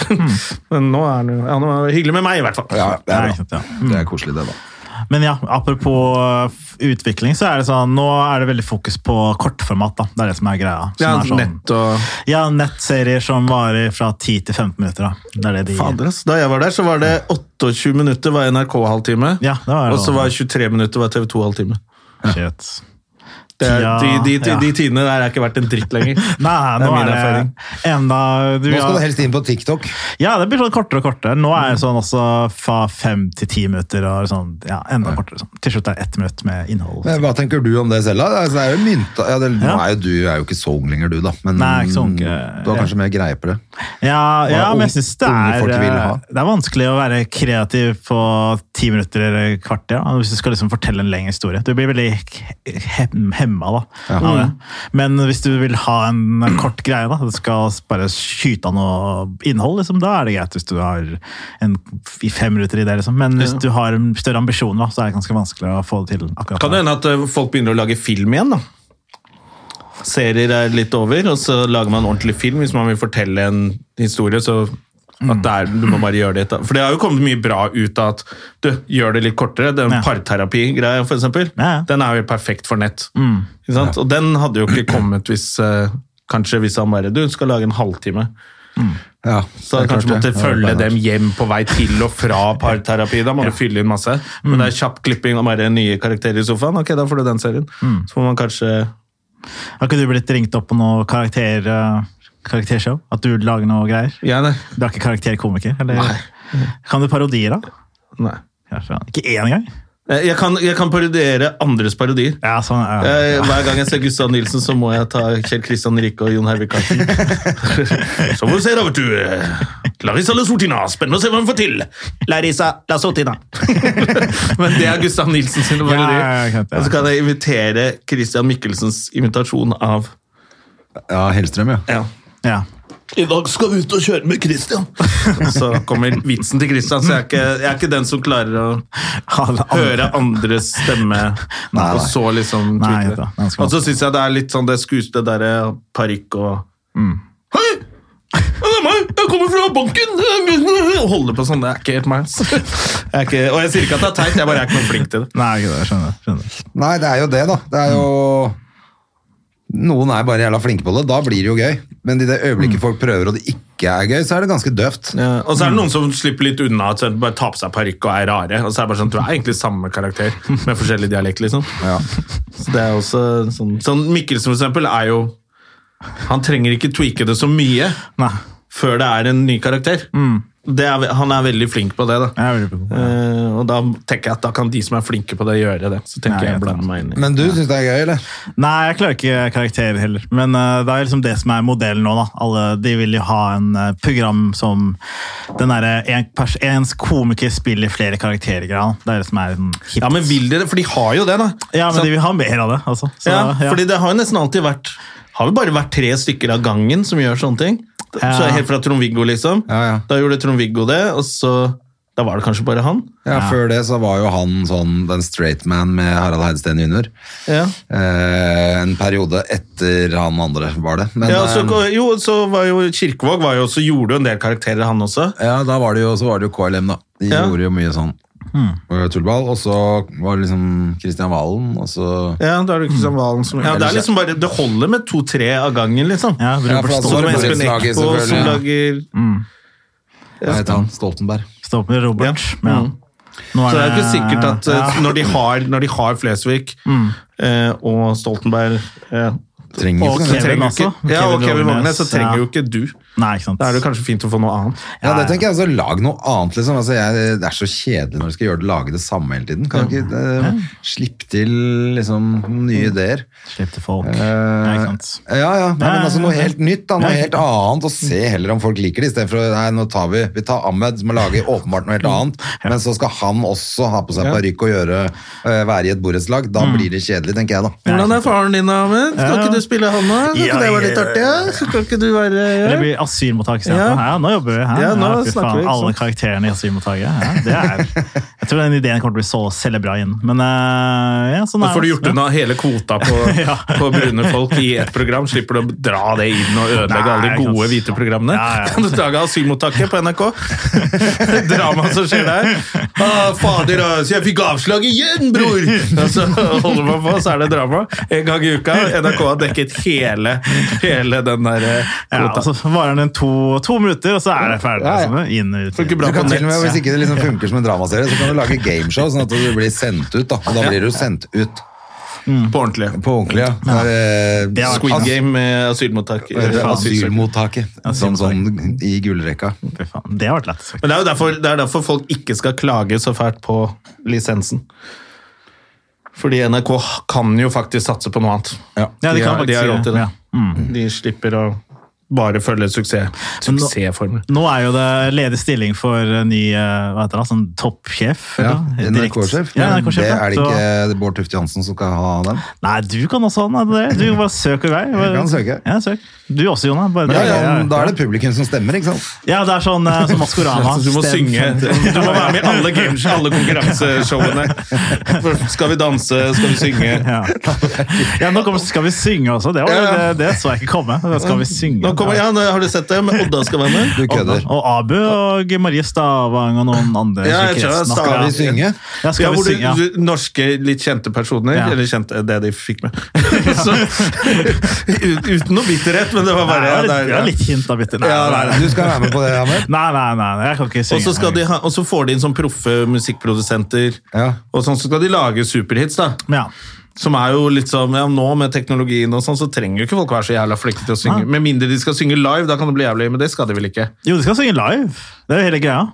Speaker 1: Men nå er han jo ja, han var hyggelig med meg, i hvert fall.
Speaker 2: Ja, det
Speaker 4: Nei,
Speaker 2: er,
Speaker 4: ikke sant,
Speaker 2: bra. Mm.
Speaker 4: ja.
Speaker 2: det er koselig, det, da.
Speaker 4: Men ja, apropos uh, f- utvikling, så er det sånn, nå er det veldig fokus på kortformat. da. Det er det som er greia. Som
Speaker 1: Ja,
Speaker 4: er sånn,
Speaker 1: nett og
Speaker 4: ja, nettserier som varer fra 10 til 15 minutter. da. Det er det de...
Speaker 1: Fader, ass. Da jeg var der, så var det 28 minutter var NRK-halvtime.
Speaker 4: Ja, det var det.
Speaker 1: Og så var 23 minutter var TV 2-halvtime.
Speaker 4: Shit.
Speaker 1: De,
Speaker 4: Ja,
Speaker 1: de, de,
Speaker 4: ja.
Speaker 1: de tidene der er ikke verdt en dritt lenger.
Speaker 4: Nei,
Speaker 1: Det er
Speaker 4: nå
Speaker 1: min
Speaker 4: er,
Speaker 1: erfaring.
Speaker 4: det enda du,
Speaker 2: Nå skal du
Speaker 4: ja,
Speaker 2: helst inn på TikTok.
Speaker 4: ja, det blir sånn kortere og kortere. Nå er
Speaker 1: Mm.
Speaker 4: det sånn også fra 5 til 10 minutter. og sånn, ja, enda kortere. Sånn. Til slutt er det ett minutt med innhold.
Speaker 2: Men Hva tenker du om det selv, da? Altså, det er jo mynta, ja, det, Nå
Speaker 4: Ja.
Speaker 2: er jo du er jo ikke så ung lenger, du, da. Men
Speaker 4: Nei, ikke så ung,
Speaker 2: du
Speaker 4: eh,
Speaker 2: har kanskje mer greie på det.
Speaker 4: Ja, ja
Speaker 2: unge-
Speaker 4: men jeg synes det
Speaker 2: unge
Speaker 4: er, eh,
Speaker 2: folk vil ha.
Speaker 4: det er vanskelig å være kreativ på ti minutter eller kvarter, da, hvis du skal liksom fortelle en lengre historie. Du blir veldig he- hem- hemma da, av det.
Speaker 2: Mm.
Speaker 4: Men hvis du vil ha en kort greie, da, du skal bare skyte av noe innhold, liksom, da er det greit hvis du har en, i fem minutter i det. Liksom. Men hvis du har større ambisjoner, da, så er det ganske vanskelig å få det til. akkurat
Speaker 1: Kan det hende
Speaker 4: da.
Speaker 1: at eh, folk begynner å lage film igjen, da? Serier er litt over, og så lager man en ordentlig film hvis man vil fortelle en historie. så at det er,
Speaker 4: Mm.
Speaker 1: du må bare gjøre det etter. For det har jo kommet mye bra ut av at du gjør det litt kortere. Den
Speaker 4: Ja.
Speaker 1: parterapi-greia, for eksempel,
Speaker 4: Ja, Mm. ja.
Speaker 1: den er jo helt perfekt for nett. Ikke sant? Og den hadde jo ikke kommet hvis eh, kanskje hvis han bare Du skal lage en halvtime.
Speaker 2: Ja,
Speaker 1: Så
Speaker 2: det er
Speaker 1: han kanskje
Speaker 2: klart
Speaker 1: måtte
Speaker 2: det. Ja, det
Speaker 1: følge
Speaker 2: er
Speaker 1: dem hjem på vei til og fra parterapi. Da må du fylle inn masse.
Speaker 2: Mm.
Speaker 1: Men det er kjapp klipping og bare nye karakterer i sofaen. Ok, da får du den serien.
Speaker 2: Mm.
Speaker 1: Så må man kanskje
Speaker 4: Har ikke du blitt ringt opp på noe karakter, eh, karaktershow? At du lager noe greier?
Speaker 1: Ja, nei.
Speaker 4: Du er ikke karakterkomiker? Eller? Kan du parodier, da?
Speaker 1: nei.
Speaker 4: Ja, faen. Ikke én gang?
Speaker 1: Eh, Jeg kan, jeg kan parodiere andres parodier.
Speaker 4: Ja, sånn, ja.
Speaker 1: Eh, Hver gang jeg ser Gustav Nilsen, så må jeg ta Kjell Kristian Rike og Jon Hervik Karlsen. Så får vi se, da, vet du. eh, Larissa Lasortina. Spennende å se hva hun får til. Larissa Lasortina. Men det er Gustav Nilsen sine parodier.
Speaker 4: Ja, ja, ja, klart det.
Speaker 1: Og så kan jeg invitere Christian Michelsens imitasjon av
Speaker 2: Ja, Hellstrøm, ja.
Speaker 1: Ja.
Speaker 4: ja.
Speaker 1: I dag skal vi ut og kjøre med Christian. Så kommer vitsen til Christian, så jeg er ikke, jeg er ikke den som klarer å
Speaker 4: Alle andre.
Speaker 1: høre andres stemme,
Speaker 2: nei.
Speaker 1: og så liksom
Speaker 4: Nei,
Speaker 1: tweete
Speaker 4: da,
Speaker 1: det.
Speaker 4: den skal man-
Speaker 1: Og så syns jeg det er litt sånn det skues, det derre parykk og
Speaker 4: Mm.
Speaker 1: Hei! Ja, Det er meg! Jeg kommer fra banken! Og holder på sånn. Det er ikke helt meg. ass. Jeg er ikke, og jeg sier ikke at det er teit, jeg bare er ikke noe flink til det.
Speaker 4: Nei, ikke det, jeg skjønner. skjønner.
Speaker 2: Nei, det er jo det, da. Det er jo Noen er bare jævla flinke på det, da blir det jo gøy. Men i det øyeblikket folk prøver og det ikke er gøy, så er det ganske døvt.
Speaker 1: Mm. Ja, og så er det noen som slipper litt unna at de bare tar på seg parykk og er rare. Og så er det bare sånn, Du er egentlig samme karakter, med forskjellig dialekt, liksom.
Speaker 2: Ja.
Speaker 1: Så det er også sånn, sånn Mikkelsen, for eksempel, er jo Han trenger ikke tweake det så mye
Speaker 4: Nei,
Speaker 1: før det er en ny karakter.
Speaker 2: Mm.
Speaker 1: Det er, han er veldig flink på det, da.
Speaker 4: jeg er veldig på det.
Speaker 1: Eh, og da tenker jeg at da kan de som er flinke på det, gjøre det. Så tenker
Speaker 4: Nei,
Speaker 1: jeg jeg
Speaker 4: jeg
Speaker 1: blander meg inn i
Speaker 2: Men du syns det er gøy, eller?
Speaker 4: Nei, jeg klarer ikke karakterer heller. Men eh, det er liksom det som er modellen nå. da. Alle, de vil jo ha en eh, program som den derre en pers- ens komiker spiller flere karakterer. greia, da. Det er det som er sånn, hipt.
Speaker 1: Ja, men vil dere? For de har jo det, da.
Speaker 4: Ja, men
Speaker 1: Så-
Speaker 4: de vil ha mer av det. altså. Så,
Speaker 1: ja,
Speaker 4: ja.
Speaker 1: fordi det har jo nesten alltid vært Har vel bare vært tre stykker av gangen som gjør sånne ting. Så
Speaker 4: Ja.
Speaker 1: Helt fra Trond-Viggo, liksom.
Speaker 2: Ja, ja.
Speaker 1: Da gjorde Trond-Viggo det, og så da Da var det kanskje bare han?
Speaker 2: Ja, Før det så var jo han sånn den straight man med Harald Heidsten jr.
Speaker 1: Ja.
Speaker 2: Eh, en periode etter han andre, var det. Men,
Speaker 1: Ja, så,
Speaker 2: eh,
Speaker 1: jo, så var jo Kirkevåg var jo også, gjorde jo en del karakterer, han også.
Speaker 2: Ja, da var det jo, så var det jo KLM, da. De
Speaker 1: Ja. Mm.
Speaker 2: gjorde jo mye sånn eh, tullball. Og så var det liksom Kristian Valen, og så
Speaker 1: Ja, da er det Kristian Valen som Ja, det er liksom bare Det holder med to-tre av gangen, liksom.
Speaker 4: Ja,
Speaker 2: Ja, for
Speaker 4: Robert
Speaker 2: altså,
Speaker 1: Så
Speaker 4: Stoltenberg.
Speaker 1: det er Espen
Speaker 2: Borettslaget,
Speaker 1: Eckbo
Speaker 2: selvfølgelig,
Speaker 1: som
Speaker 2: ja.
Speaker 1: lager
Speaker 2: Hva heter han? Stoltenberg.
Speaker 4: Stoltenberg, Robert.
Speaker 1: Ja.
Speaker 4: Ja.
Speaker 1: Så
Speaker 4: Nå
Speaker 1: det er jo ikke sikkert at eh,
Speaker 4: ja.
Speaker 1: når, de har, når de har Flesvig eh, og Stoltenberg eh,
Speaker 2: Trenger
Speaker 4: Og
Speaker 2: ikke
Speaker 1: så
Speaker 2: noe.
Speaker 4: Kevin
Speaker 1: trenger jo
Speaker 4: også.
Speaker 1: Ikke, ja, og
Speaker 4: Kevin
Speaker 1: Kevin
Speaker 4: Vågenes,
Speaker 1: Vågenes, så trenger
Speaker 4: ja.
Speaker 1: jo ikke du.
Speaker 4: Nei, ikke sant.
Speaker 1: Da er det kanskje fint å få noe annet.
Speaker 2: Ja, det tenker jeg altså, Lag noe annet, liksom. Altså, jeg, det er så kjedelig når du skal gjøre det, lage det samme hele tiden. Kan du ikke eh, slippe til liksom, nye ideer?
Speaker 4: Slipp til folk.
Speaker 2: Eh,
Speaker 4: ja, ikke sant.
Speaker 2: Ja, ja. Nei, men altså noe
Speaker 4: ja, ja.
Speaker 2: helt nytt, da. Noe
Speaker 4: Ja.
Speaker 2: helt annet. Og se heller om folk liker det, istedenfor å Nei, nå tar vi Vi tar Ahmed, som lager åpenbart noe helt annet, men så skal han også ha på seg parykk og gjøre eh, være i et borettslag. Da blir det kjedelig, tenker jeg, da.
Speaker 1: Hvordan er faren din, Ahmed? Skal ikke du spille han nå? Skal
Speaker 4: Ja,
Speaker 1: ikke det være litt
Speaker 4: jeg-
Speaker 1: artig? ja? Skal ikke du være
Speaker 4: Det
Speaker 1: ja?
Speaker 4: blir asylmottak. Ja.
Speaker 1: Ja.
Speaker 4: ja, nå jobber vi. her.
Speaker 1: Ja, nå
Speaker 4: fy
Speaker 1: snakker
Speaker 4: faen,
Speaker 1: vi, ikke
Speaker 4: Alle
Speaker 1: sant?
Speaker 4: karakterene i asylmottaket. Ja, det er, jeg tror den ideen kommer til å bli så celebra inn. Men eh, ja, sånn
Speaker 1: Da
Speaker 4: er
Speaker 1: får du
Speaker 4: det.
Speaker 1: gjort unna hele kvota på,
Speaker 4: Ja.
Speaker 1: på brune folk i ett program. Slipper du å dra det inn og ødelegge
Speaker 4: Nei,
Speaker 1: alle de
Speaker 4: ikke
Speaker 1: gode
Speaker 4: sant.
Speaker 1: hvite programmene.
Speaker 4: Ja, ja.
Speaker 1: Kan du lage asylmottaket på NRK? Dramaet som skjer der. Å, fader, altså, jeg fikk avslag igjen, bror! Og så holder man på, så er det drama. En gang i uka. NRK har dekket hele, hele den der eh,
Speaker 4: Ja,
Speaker 1: kvota.
Speaker 4: altså, og så varer den to, to minutter, og så er det ferdig.
Speaker 2: Ja, ja.
Speaker 4: liksom, inn og ut.
Speaker 1: Funker bra
Speaker 2: Du
Speaker 1: på
Speaker 2: kan til og
Speaker 1: nett.
Speaker 2: med, Hvis ikke det liksom funker som en dramaserie, så kan du lage gameshow, sånn at du blir sendt ut. da Og da blir du sendt ut
Speaker 1: På ordentlig.
Speaker 2: på ordentlig. ja. Der, eh,
Speaker 4: Det er
Speaker 1: Squid Game med asylmottak.
Speaker 2: as- eh,
Speaker 1: Asylsøker.
Speaker 2: Asylmottaket. Som sånn i gullrekka.
Speaker 4: Fy faen, Det har vært lett.
Speaker 1: Men det er jo derfor, det er derfor folk ikke skal klage så fælt på lisensen. Fordi NRK kan jo faktisk satse på noe annet.
Speaker 4: Ja, de
Speaker 1: de,
Speaker 4: kan
Speaker 1: har, de
Speaker 4: faktisk-
Speaker 1: har råd til det.
Speaker 4: ja. Mm.
Speaker 1: De slipper å bare følge suksess,
Speaker 4: Men nå-
Speaker 1: suksessformel.
Speaker 4: Nå er jo det ledig stilling for eh, ny eh, hva heter det, sånn toppsjef.
Speaker 2: Ja,
Speaker 4: eller? Direkt-
Speaker 2: NRK-sjef.
Speaker 4: Ja,
Speaker 2: Men
Speaker 4: NRK-sjef,
Speaker 2: det
Speaker 4: ja.
Speaker 2: er det
Speaker 4: Så-
Speaker 2: ikke eh, Bård Tufte Johansen som skal ha den.
Speaker 4: Nei, du kan også ha den. er det det? Du bare søk i vei. Bare,
Speaker 2: kan søke.
Speaker 4: Ja, søk. Du også, Jonah. Bare,
Speaker 2: Men det er
Speaker 4: ja, ja, ja.
Speaker 2: sånn, da er det publikum som stemmer, ikke sant?
Speaker 4: Ja, det er sånn eh, som Maskorama.
Speaker 1: Du må
Speaker 4: Stem
Speaker 1: synge.
Speaker 4: 50.
Speaker 1: Du må være med i alle games, alle konkurranseshowene. Skal vi danse, skal vi synge.
Speaker 4: Ja. ja, nå kommer Skal vi synge også. Det, var, det, det så jeg ikke komme. Da Skal vi synge?
Speaker 1: Nå kommer, ja, nå har du sett det? Men Odda skal være med.
Speaker 2: Du kødder.
Speaker 4: Og Abu og Marie Stavang og noen andre.
Speaker 1: Ja,
Speaker 4: i
Speaker 1: jeg tror
Speaker 4: kretsen.
Speaker 1: jeg Stavang-
Speaker 2: Skal vi synge?
Speaker 4: Ja, skal
Speaker 1: ja,
Speaker 4: vi
Speaker 1: hvor
Speaker 4: synge, ja.
Speaker 1: du, du, norske, litt kjente personer,
Speaker 4: Ja.
Speaker 1: eller kjente det de fikk med. så, ut- uten noe bitterhet, men det var
Speaker 4: Nei,
Speaker 1: bare
Speaker 4: det
Speaker 1: ja,
Speaker 4: er litt,
Speaker 1: det
Speaker 4: ja,
Speaker 1: er-
Speaker 4: litt hint av bitte. Nei,
Speaker 1: Ja,
Speaker 4: nei,
Speaker 1: nei,
Speaker 4: nei.
Speaker 2: Du skal være med på det, Ahmed?
Speaker 4: Nei, nei, nei, nei, jeg kan ikke synge.
Speaker 1: Og så, skal de ha, og så får de inn sånn proffe musikkprodusenter,
Speaker 2: Ja.
Speaker 1: og sånn så skal de lage superhits, da.
Speaker 4: ja.
Speaker 1: Som er jo litt sånn, ja, Nå med teknologien og sånn, så trenger jo ikke folk være så jævla flinke til å synge. Med mindre de skal synge live, da kan det bli jævlig, men det skal de vel ikke.
Speaker 4: Jo, de skal synge live. Det er jo hele greia.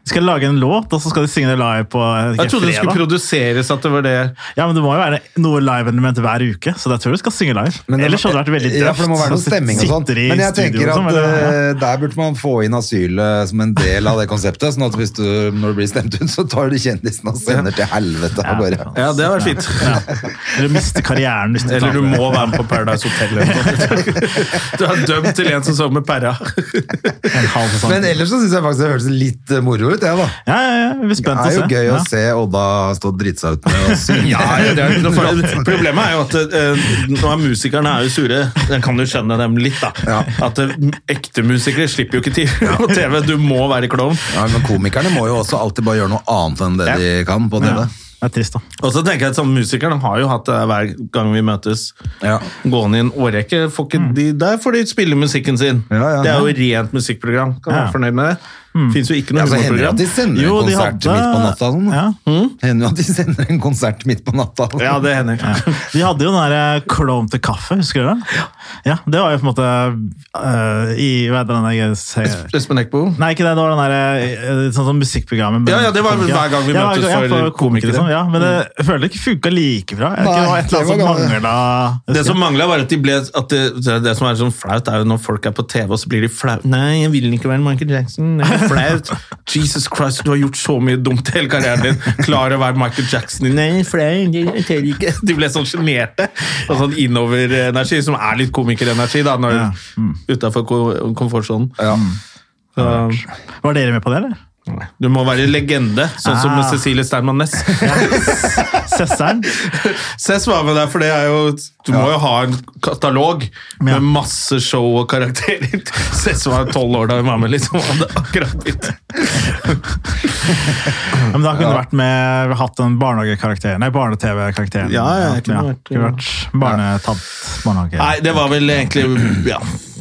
Speaker 4: De skal lage en låt, og så skal de synge det live på eh,
Speaker 1: Jeg trodde det skulle
Speaker 4: fredag.
Speaker 1: produseres at det var det
Speaker 4: Ja, men Det må jo være noe live-element hver uke, så jeg tror du skal synge live.
Speaker 2: Men det
Speaker 4: Ellers hadde det vært veldig døvt.
Speaker 2: Ja, for det må være noe stemming og sånn.
Speaker 4: Sitter i
Speaker 2: Men jeg
Speaker 4: studio
Speaker 2: tenker
Speaker 4: og
Speaker 2: at
Speaker 4: sånn, eller-
Speaker 2: eh, der burde man få inn asylet som en del av det konseptet, sånn at hvis du, når du blir stemt ut, så tar du kjendisen og sender til helvete av gårde.
Speaker 1: Ja, det hadde vært fint.
Speaker 4: Eller miste karrieren. Hvis du
Speaker 1: Eller
Speaker 4: tar
Speaker 1: du
Speaker 4: det.
Speaker 1: må være med på Paradise Hotel. eller noe. Du er dømt til en sesong med perra.
Speaker 4: En halv sesong.
Speaker 2: Men ellers så syns jeg faktisk det høres litt eh, moro ut, jeg, da.
Speaker 4: ja, ja, ja, vi er
Speaker 2: Det
Speaker 4: spent
Speaker 2: er jo
Speaker 4: å se.
Speaker 2: gøy å
Speaker 4: ja.
Speaker 2: se Odda stå og drite seg ut med å synge.
Speaker 1: Ja, det er ikke noe farlig. Problemet er jo at eh, nå er musikerne er jo sure. Den kan jo skjønne dem litt, da. At eh, ekte musikere slipper jo ikke til på TV. Du må være klovn.
Speaker 2: Ja, men komikerne må jo også alltid bare gjøre noe annet enn det de kan på TV.
Speaker 4: Ja. Det er trist, da.
Speaker 1: Og så tenker jeg at sånn, Musikerne har jo hatt det hver gang vi møtes
Speaker 2: Ja.
Speaker 1: gående i en årrekke. Får ikke de, der får de spille musikken sin.
Speaker 2: Ja, ja, Mm.
Speaker 1: det er jo rent musikkprogram. Kan
Speaker 4: Ja.
Speaker 1: være fornøyd med det. Fins jo ikke noe
Speaker 2: Ja, så hender det altså, at
Speaker 1: humorprogram. Hm?
Speaker 2: de sender
Speaker 4: Jo,
Speaker 2: en
Speaker 4: de
Speaker 2: konsert
Speaker 4: hadde-
Speaker 2: midt på natta. og Sånn. da.
Speaker 4: Ja.
Speaker 2: Hender jo at de sender en konsert midt på natta. og sånn.
Speaker 1: Ja, det hender.
Speaker 4: De hadde jo den der Klovn til kaffe, husker du det? Ja, det var jo på en måte eh, i Hva heter den der se-
Speaker 1: Espen Eckbo.
Speaker 4: Nei, ikke det. Det var den der, eh, sånn som musikkprogrammet. med
Speaker 1: Ja, ja, det var vel
Speaker 4: komikere.
Speaker 1: hver gang vi
Speaker 4: Ja,
Speaker 1: møttes
Speaker 4: ja,
Speaker 1: for
Speaker 4: komikere,
Speaker 1: komikere. Mm.
Speaker 4: Liksom, ja, men det, jeg føler det ikke funka like bra. Jeg, vet ikke, det var et
Speaker 2: Nei,
Speaker 4: eller
Speaker 2: det
Speaker 4: annet som
Speaker 2: var
Speaker 4: manglet
Speaker 1: Det som mangla, var at de ble at det, det, det som er sånn flaut, er jo når folk er på TV, og så blir de flau. Nei, jeg vil ikke være Michael Jackson. Det er flaut. Jesus Christ, du har gjort så mye dumt i hele karrieren din. Klarer å være Michael Jackson. Nei, flaut. Jeg tør ikke. De ble sånn sjenerte. Og sånn innoverenergi, som er litt komikerenergi, da, når
Speaker 4: Ja.
Speaker 1: utenfor ko- komfortsonen.
Speaker 2: Ja.
Speaker 1: Så,
Speaker 4: Var dere med på det, eller?
Speaker 1: Du må være legende, sånn som
Speaker 4: Ah.
Speaker 1: Cecilie Steinmann Næss.
Speaker 4: Søsteren?
Speaker 1: Cess var med der, for det er jo Du må jo ha en katalog med masse show og karakterer. Cess var tolv år da hun var med, liksom. og Hadde akkurat begynt.
Speaker 4: Ja, men da kunne det vært med vi har hatt den barnehagekarakteren. Nei, barne-TV-karakteren.
Speaker 1: Ja, ja, det
Speaker 4: kunne
Speaker 1: kunne vært-
Speaker 4: vært, barnetant. Barnehage.
Speaker 1: Nei, det var vel egentlig Ja.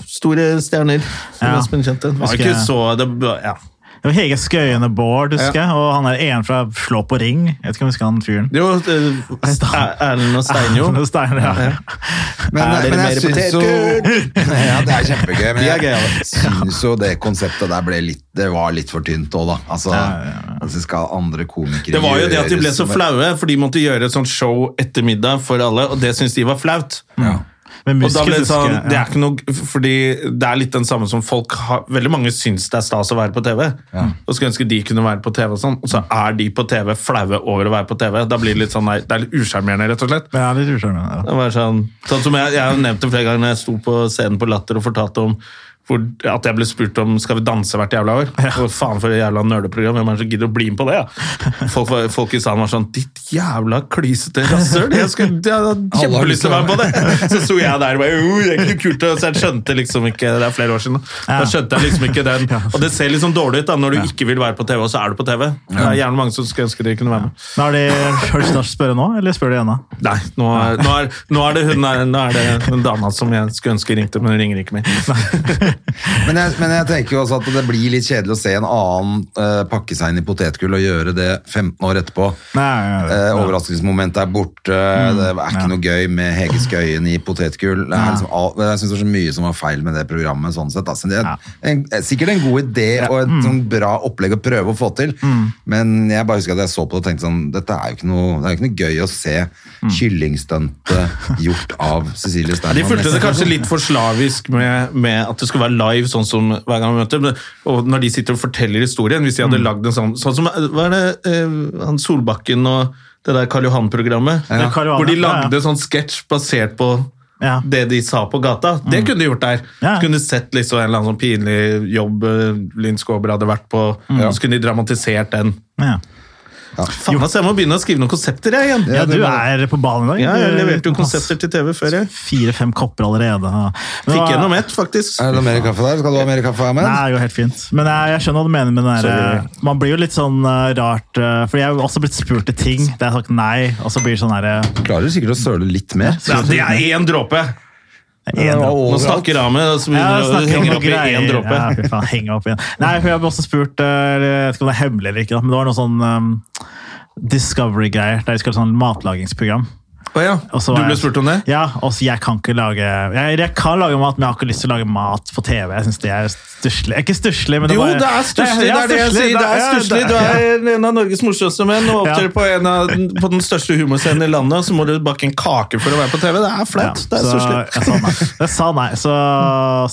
Speaker 1: Store stjerner, som
Speaker 4: Ja.
Speaker 1: Espen kjente. Det var
Speaker 4: Husker
Speaker 1: ikke
Speaker 4: jeg.
Speaker 1: så det, var- ja.
Speaker 4: Det var Hege Skøyene Bård, husker jeg. Og han er en fra Slå på ring. Jeg vet ikke om jeg husker han fyren.
Speaker 1: Det var Erlend og Steinjo.
Speaker 4: Det er Steiner, ja.
Speaker 2: Men,
Speaker 1: Er dere
Speaker 2: men
Speaker 1: mer
Speaker 2: jeg syns jo Ja, det er kjempegøy, men
Speaker 1: De er
Speaker 2: jeg
Speaker 1: gøyale.
Speaker 2: syns jo det konseptet der ble litt Det var litt for tynt òg, da. Altså, altså, skal andre komikere
Speaker 1: Det var jo det at de ble
Speaker 2: gjøre
Speaker 1: så
Speaker 2: som-
Speaker 1: flaue, for de måtte gjøre et sånt show etter middag for alle, og det syntes de var flaut.
Speaker 4: Men
Speaker 1: Og da ble
Speaker 4: muskel,
Speaker 1: det sånn,
Speaker 4: husker jeg,
Speaker 1: det
Speaker 4: ja.
Speaker 1: er ikke noe, fordi det er litt den samme som folk har, veldig mange syns det er stas å være på TV, og skulle ønske de kunne være på TV og sånn, og så er de på TV flaue over å være på TV, da blir det litt sånn, nei, det er litt usjarmerende rett og slett.
Speaker 4: Men jeg er litt usjarmerende,
Speaker 1: Det var sånn, sånn som jeg, jeg har nevnt det flere ganger når jeg sto på scenen på Latter og fortalte om hvor, at jeg ble spurt om skal vi danse hvert jævla år. Hvor faen for et jævla nerdeprogram, hvem er det som gidder å bli med på det? Ja? Folk, var- folk i salen var sånn ditt jævla klysete rasshøl, jeg skulle jeg hadde
Speaker 2: Alle har lyst
Speaker 1: kjempelyst til å
Speaker 2: til å
Speaker 1: være med på det! Så sto jeg der og bare jo, det er ikke kult, å-» så jeg skjønte liksom ikke Det er flere år siden, da. Da skjønte jeg liksom ikke den. Og det ser liksom dårlig ut da, når du ikke vil være på TV, og så er du på TV. Det er gjerne mange som skulle ønske de kunne være med.
Speaker 4: da. Har de hørt snart spørre nå, eller spør de ennå?
Speaker 1: Nei, nå er, nå er, nå er det hun der, nå er det den dama som jeg skulle ønske ringte, men hun ringer ikke mer.
Speaker 2: Men jeg, men jeg tenker jo også at det blir litt kjedelig å se en annen eh, pakke seg inn i potetgull og gjøre det 15 år etterpå.
Speaker 4: Nei, ja, ja,
Speaker 2: Eh,
Speaker 4: ja.
Speaker 2: overraskelsesmomentet er borte.
Speaker 1: Mm.
Speaker 2: det er ikke noe gøy med Hege Skøyen i potetgull. Det er liksom, alt- jeg syns det er så mye som var feil med det programmet. sånn sett. da. Så det er en, eh, sikkert en god idé og
Speaker 1: Mm.
Speaker 2: et sånn bra opplegg å prøve å få til, men jeg bare husker at jeg så på det og tenkte sånn Dette er jo ikke noe, det er jo ikke noe gøy å se kyllingstuntet gjort av Cecilie Steinmann.
Speaker 1: Mm. De fulgte det kanskje litt for slavisk med, med at det skulle være live, sånn som hver gang vi møter men- Og når de sitter og forteller historien, hvis de
Speaker 4: Mm.
Speaker 1: hadde lagd en sånn Sånn som hva er det, eh, han Solbakken og det der Karl Johan-programmet,
Speaker 4: Det er Karl Johan,
Speaker 1: hvor de
Speaker 4: ja, ja.
Speaker 1: lagde sånn sketsj basert på
Speaker 4: Ja. Mm.
Speaker 1: det de sa på gata. Det kunne de gjort der.
Speaker 4: Ja.
Speaker 1: Så kunne de sett liksom en eller annen sånn pinlig jobb eh, Linn Skåber hadde vært på,
Speaker 4: Mm.
Speaker 1: så kunne de dramatisert den.
Speaker 4: Ja.
Speaker 1: Faen, altså, jeg må begynne å skrive noen konsepter jeg, igjen.
Speaker 4: ja, du er på ballen i dag.
Speaker 1: Ja, jeg leverte jo
Speaker 4: Pass.
Speaker 1: konsepter til TV før, jeg.
Speaker 4: Fire-fem kopper allerede. Men det
Speaker 1: Fikk
Speaker 4: var-
Speaker 1: gjennom ett, faktisk.
Speaker 2: Er det noe mer kaffe der? Skal du ha mer kaffe, Ahmed?
Speaker 4: Nei, det går helt fint. Men jeg, jeg skjønner hva du mener med den der, Man blir jo litt sånn eh, rart uh, Fordi jeg har jo også blitt spurt til ting der jeg har sagt nei, og så blir det sånn herre
Speaker 2: Du klarer sikkert å søle litt mer.
Speaker 1: Ja, altså, det er én dråpe! Nå snakker Ahmed og så
Speaker 4: Ja,
Speaker 1: begynner du-
Speaker 4: snakker om
Speaker 1: henger
Speaker 4: noen
Speaker 1: opp i
Speaker 4: greier.
Speaker 1: én dråpe.
Speaker 4: Ja, fy faen, henger opp igjen. Nei, for jeg ble også spurt eh, Jeg vet ikke om det er hemmelig eller ikke, da, men det var noe sånn ehm, Discovery-greier. Der de skulle ha sånn matlagingsprogram.
Speaker 1: Å ja.
Speaker 4: Og så
Speaker 1: Du
Speaker 4: var
Speaker 1: ble
Speaker 4: jeg-
Speaker 1: spurt om det?
Speaker 4: Ja, og så jeg kan ikke lage jeg, jeg kan lage mat, men jeg har ikke lyst til å lage mat på TV. Jeg synes det er stusslig. Ikke stusslig, men det
Speaker 1: Jo,
Speaker 4: bare-
Speaker 1: det er stusslig! Det
Speaker 4: ja,
Speaker 1: er det jeg
Speaker 4: stusslig,
Speaker 1: sier. Det er
Speaker 4: ja,
Speaker 1: stusslig. Du er en av Norges morsomste menn og
Speaker 4: Ja.
Speaker 1: opptrer på, en av, på den største humorscenen i landet, og så må du bake en kake for å være på TV. Det er
Speaker 4: Ja,
Speaker 1: flaut. Det er
Speaker 4: så
Speaker 1: stusslig.
Speaker 4: Jeg sa nei. Jeg sa nei, så,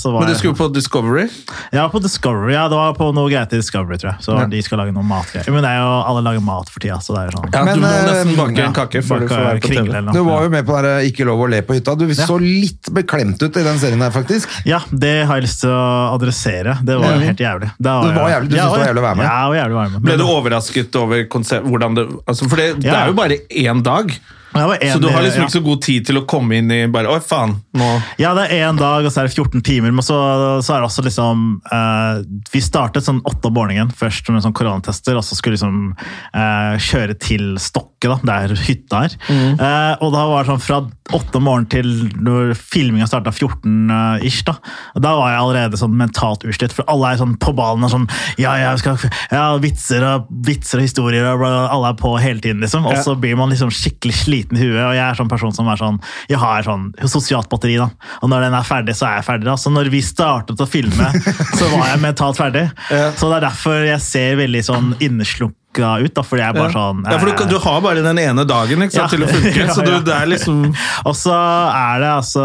Speaker 4: så var
Speaker 1: Men du
Speaker 4: jeg-
Speaker 1: skulle på Discovery?
Speaker 4: Jeg var på Discovery, ja, det var på noe greit i Discovery, tror jeg. Så de skal lage noe matgreier. Men det er jo alle lager mat for tida, så det er jo sånn.
Speaker 1: Ja,
Speaker 2: Men,
Speaker 1: du må
Speaker 2: eh,
Speaker 1: nesten bake en kake før du
Speaker 4: Baka
Speaker 1: får være på
Speaker 4: kringle
Speaker 1: TV.
Speaker 4: eller noe.
Speaker 2: Du var jo med på den der Ikke lov å le på hytta. Du så litt beklemt ut i den serien her, faktisk.
Speaker 4: Ja, det har jeg lyst til å adressere. Det var jo helt jævlig. Det
Speaker 2: Det var
Speaker 4: jeg-
Speaker 2: jævlig. Du
Speaker 4: Ja,
Speaker 2: syntes det var
Speaker 4: og-
Speaker 2: jævlig å være med?
Speaker 4: Ja, det var jævlig å være med.
Speaker 1: Ble
Speaker 4: Men-
Speaker 1: du overrasket over konsept, hvordan det altså For det, det
Speaker 4: Ja.
Speaker 1: er jo bare én dag,
Speaker 4: Jeg var
Speaker 1: så
Speaker 4: enig-
Speaker 1: du har liksom
Speaker 4: ja.
Speaker 1: ikke så god tid til å komme inn i bare Å, faen, nå
Speaker 4: Ja, det er én dag, og så er det 14 timer. Men så, så er det også liksom eh, Vi startet sånn åtte om morgenen først med sånn koronatester, og så skulle liksom eh, kjøre til Stokke, da, der hytta er. Eh, og da var det sånn fra åtte om morgenen til når filminga starta 14 eh, ish, da. Og Da var jeg allerede sånn mentalt utslitt, for alle er sånn på ballen og sånn Ja, ja, vi skal, ja vitser, og, vitser og historier, og bla, bla, alle er på hele tiden, liksom. Og så blir man liksom skikkelig sliten i huet, og jeg er sånn person som er sånn Jeg har sånn sosialt batteri, da. Og når den er ferdig, så er jeg ferdig. da. Så når vi startet å filme, så var jeg mentalt ferdig. Så det er derfor jeg ser veldig sånn inneslukka ut, da, fordi jeg er bare sånn
Speaker 1: Ja, for du, du har bare den ene dagen ikke sant,
Speaker 4: Ja.
Speaker 1: til å funke,
Speaker 4: Ja,
Speaker 1: så du,
Speaker 4: ja.
Speaker 1: det er liksom
Speaker 4: Og så er det altså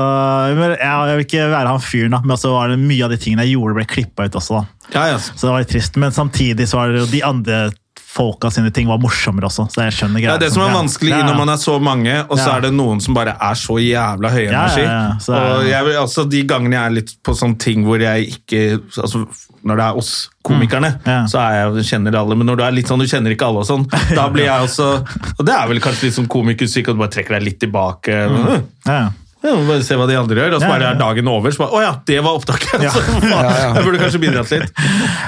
Speaker 4: men Jeg jeg vil ikke være han fyren, da, men så var det mye av de tingene jeg gjorde, ble klippa ut også. da.
Speaker 1: Ja, ja.
Speaker 4: Så det var litt trist. Men samtidig så var det jo de andre folka sine ting var morsommere også. Så jeg skjønner
Speaker 1: Det
Speaker 4: greier
Speaker 1: er det som er
Speaker 4: ja.
Speaker 1: vanskelig
Speaker 4: Ja, ja.
Speaker 1: når man er så mange, og så
Speaker 4: Ja.
Speaker 1: er det noen som bare er så jævla høy
Speaker 4: Ja,
Speaker 1: energi.
Speaker 4: ja, ja. Så er-
Speaker 1: Og jeg vil, altså, de gangene jeg er litt på sånne ting hvor jeg ikke altså, Når det er oss komikerne,
Speaker 4: Mm, Ja.
Speaker 1: så er jeg, kjenner alle, men når du er litt sånn, du kjenner ikke alle og sånn, da blir jeg også Og det er vel kanskje litt sånn komikersyk, at du bare trekker deg litt tilbake. Mm.
Speaker 4: Ja, ja.
Speaker 1: Ja, må bare se hva de andre gjør, og så
Speaker 4: Ja,
Speaker 1: bare
Speaker 4: ja, ja.
Speaker 1: er dagen over. Så bare, Å ja, det var opptaket!
Speaker 4: Ja.
Speaker 1: Så, faen, Jeg burde kanskje bidratt litt.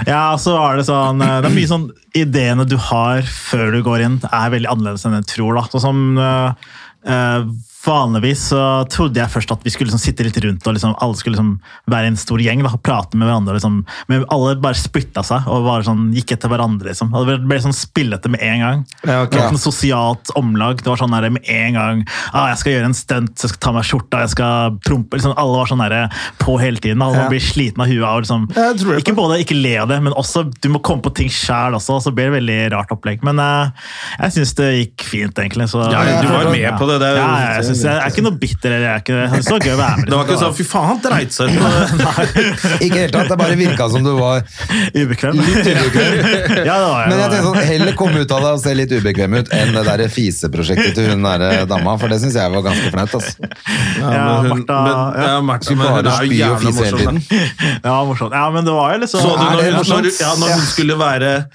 Speaker 4: Ja, så er det sånn eh, Det er mye sånn Ideene du har før du går inn, er veldig annerledes enn du tror. da. Sånn som eh, eh, Vanligvis så trodde jeg først at vi skulle liksom sitte litt rundt og liksom alle skulle liksom være en stor gjeng da, og prate med hverandre. liksom. Men alle bare splitta seg og bare sånn gikk etter hverandre. liksom. Og Det ble- ble sånn spillete med en gang.
Speaker 1: Ja, ok.
Speaker 4: Det var ikke noe sosialt omlag. Det var sånn der med en gang ah, 'Jeg skal gjøre en stunt, jeg skal ta meg skjorta, jeg skal prompe' liksom, Alle var sånn der på hele tiden. Alle blir sliten av huet av liksom,
Speaker 1: Ja, jeg tror det.
Speaker 4: ikke både ikke le av det, men også du må komme på ting sjæl også. Så blir det veldig rart opplegg. Men eh, jeg syns det gikk fint, egentlig. Så,
Speaker 1: Ja, ja, du var jo med
Speaker 4: Ja.
Speaker 1: på det, det er jo-
Speaker 4: ja, ja, jeg, synes, jeg er ikke noe bitter. Eller, jeg er ikke, jeg synes det var gøy å være med. liksom.
Speaker 1: Det var ikke sånn 'fy faen, han dreit seg ut'. på det».
Speaker 2: Ikke helt tatt, det bare virka som du var
Speaker 4: ubekvem.
Speaker 2: litt ubekvem.
Speaker 4: Ja, det var
Speaker 2: Men jeg
Speaker 4: det
Speaker 2: tenkte
Speaker 4: var-
Speaker 2: sånn, heller komme ut av det og se litt ubekvem ut enn det der fiseprosjektet til hun der dama, for det syns jeg var ganske flaut. Altså.
Speaker 4: Ja,
Speaker 1: men hun-
Speaker 4: Martha,
Speaker 1: men-
Speaker 4: ja.
Speaker 1: ja, Martha,
Speaker 2: Skulle
Speaker 1: men hun
Speaker 2: bare
Speaker 1: er jo
Speaker 2: spy og
Speaker 1: jævla
Speaker 2: fise hele
Speaker 1: morsom. da.
Speaker 2: tiden.
Speaker 4: det var morsomt. Ja, men det var jo liksom
Speaker 1: Så du
Speaker 2: Er
Speaker 1: når,
Speaker 2: det
Speaker 1: hun- når,
Speaker 2: morsomt?
Speaker 1: hun- ja, når hun skulle være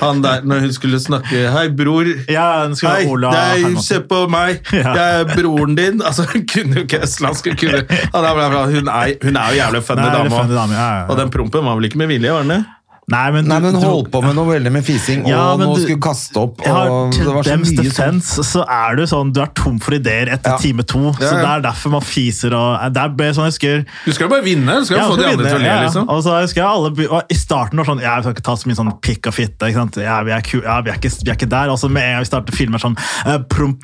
Speaker 1: han der, når hun skulle snakke 'Hei, bror'.
Speaker 4: Ja, den skulle
Speaker 1: Hei,
Speaker 4: være Ola
Speaker 1: det er-
Speaker 4: Hermansen.
Speaker 1: se på meg,
Speaker 4: Ja.
Speaker 1: jeg er broren din. Altså, hun kunne jo ikke østlandsk. Hun, kunne, ja, det er bra, bra. hun, er, hun er jo jævlig funny
Speaker 4: Nei,
Speaker 1: dame.
Speaker 4: jævlig funny
Speaker 1: også.
Speaker 4: dame, ja, ja, ja.
Speaker 1: Og den prompen var vel ikke med vilje? var den det?
Speaker 4: Nei, men,
Speaker 2: Nei, men
Speaker 4: du-
Speaker 2: hun holdt på med noe veldig med fising, og
Speaker 4: Ja, men
Speaker 2: nå
Speaker 4: du-
Speaker 2: skulle kaste opp,
Speaker 4: Jeg har,
Speaker 2: og
Speaker 4: til
Speaker 2: det var så
Speaker 4: dems
Speaker 2: mye sånn.
Speaker 4: defense, så er du sånn, du er tom for ideer etter
Speaker 2: Ja.
Speaker 4: time to. Så
Speaker 2: Ja,
Speaker 4: det
Speaker 2: ja.
Speaker 4: er derfor man fiser og Det er bare sånn jeg husker
Speaker 1: Du skal jo bare vinne. Du skal jo
Speaker 4: Ja,
Speaker 1: få de
Speaker 4: så
Speaker 1: andre til å
Speaker 4: vinner-
Speaker 1: le,
Speaker 4: ja, ja.
Speaker 1: liksom.
Speaker 4: Og så husker jeg alle, be- og I starten var sånn ja, Vi skal ikke ta så mye sånn pikk og fitte. Ikke sant? Ja, vi, er ku, ja, vi, er ikke, vi er ikke der. Og så med en gang vi starter filmer sånn eh, promp,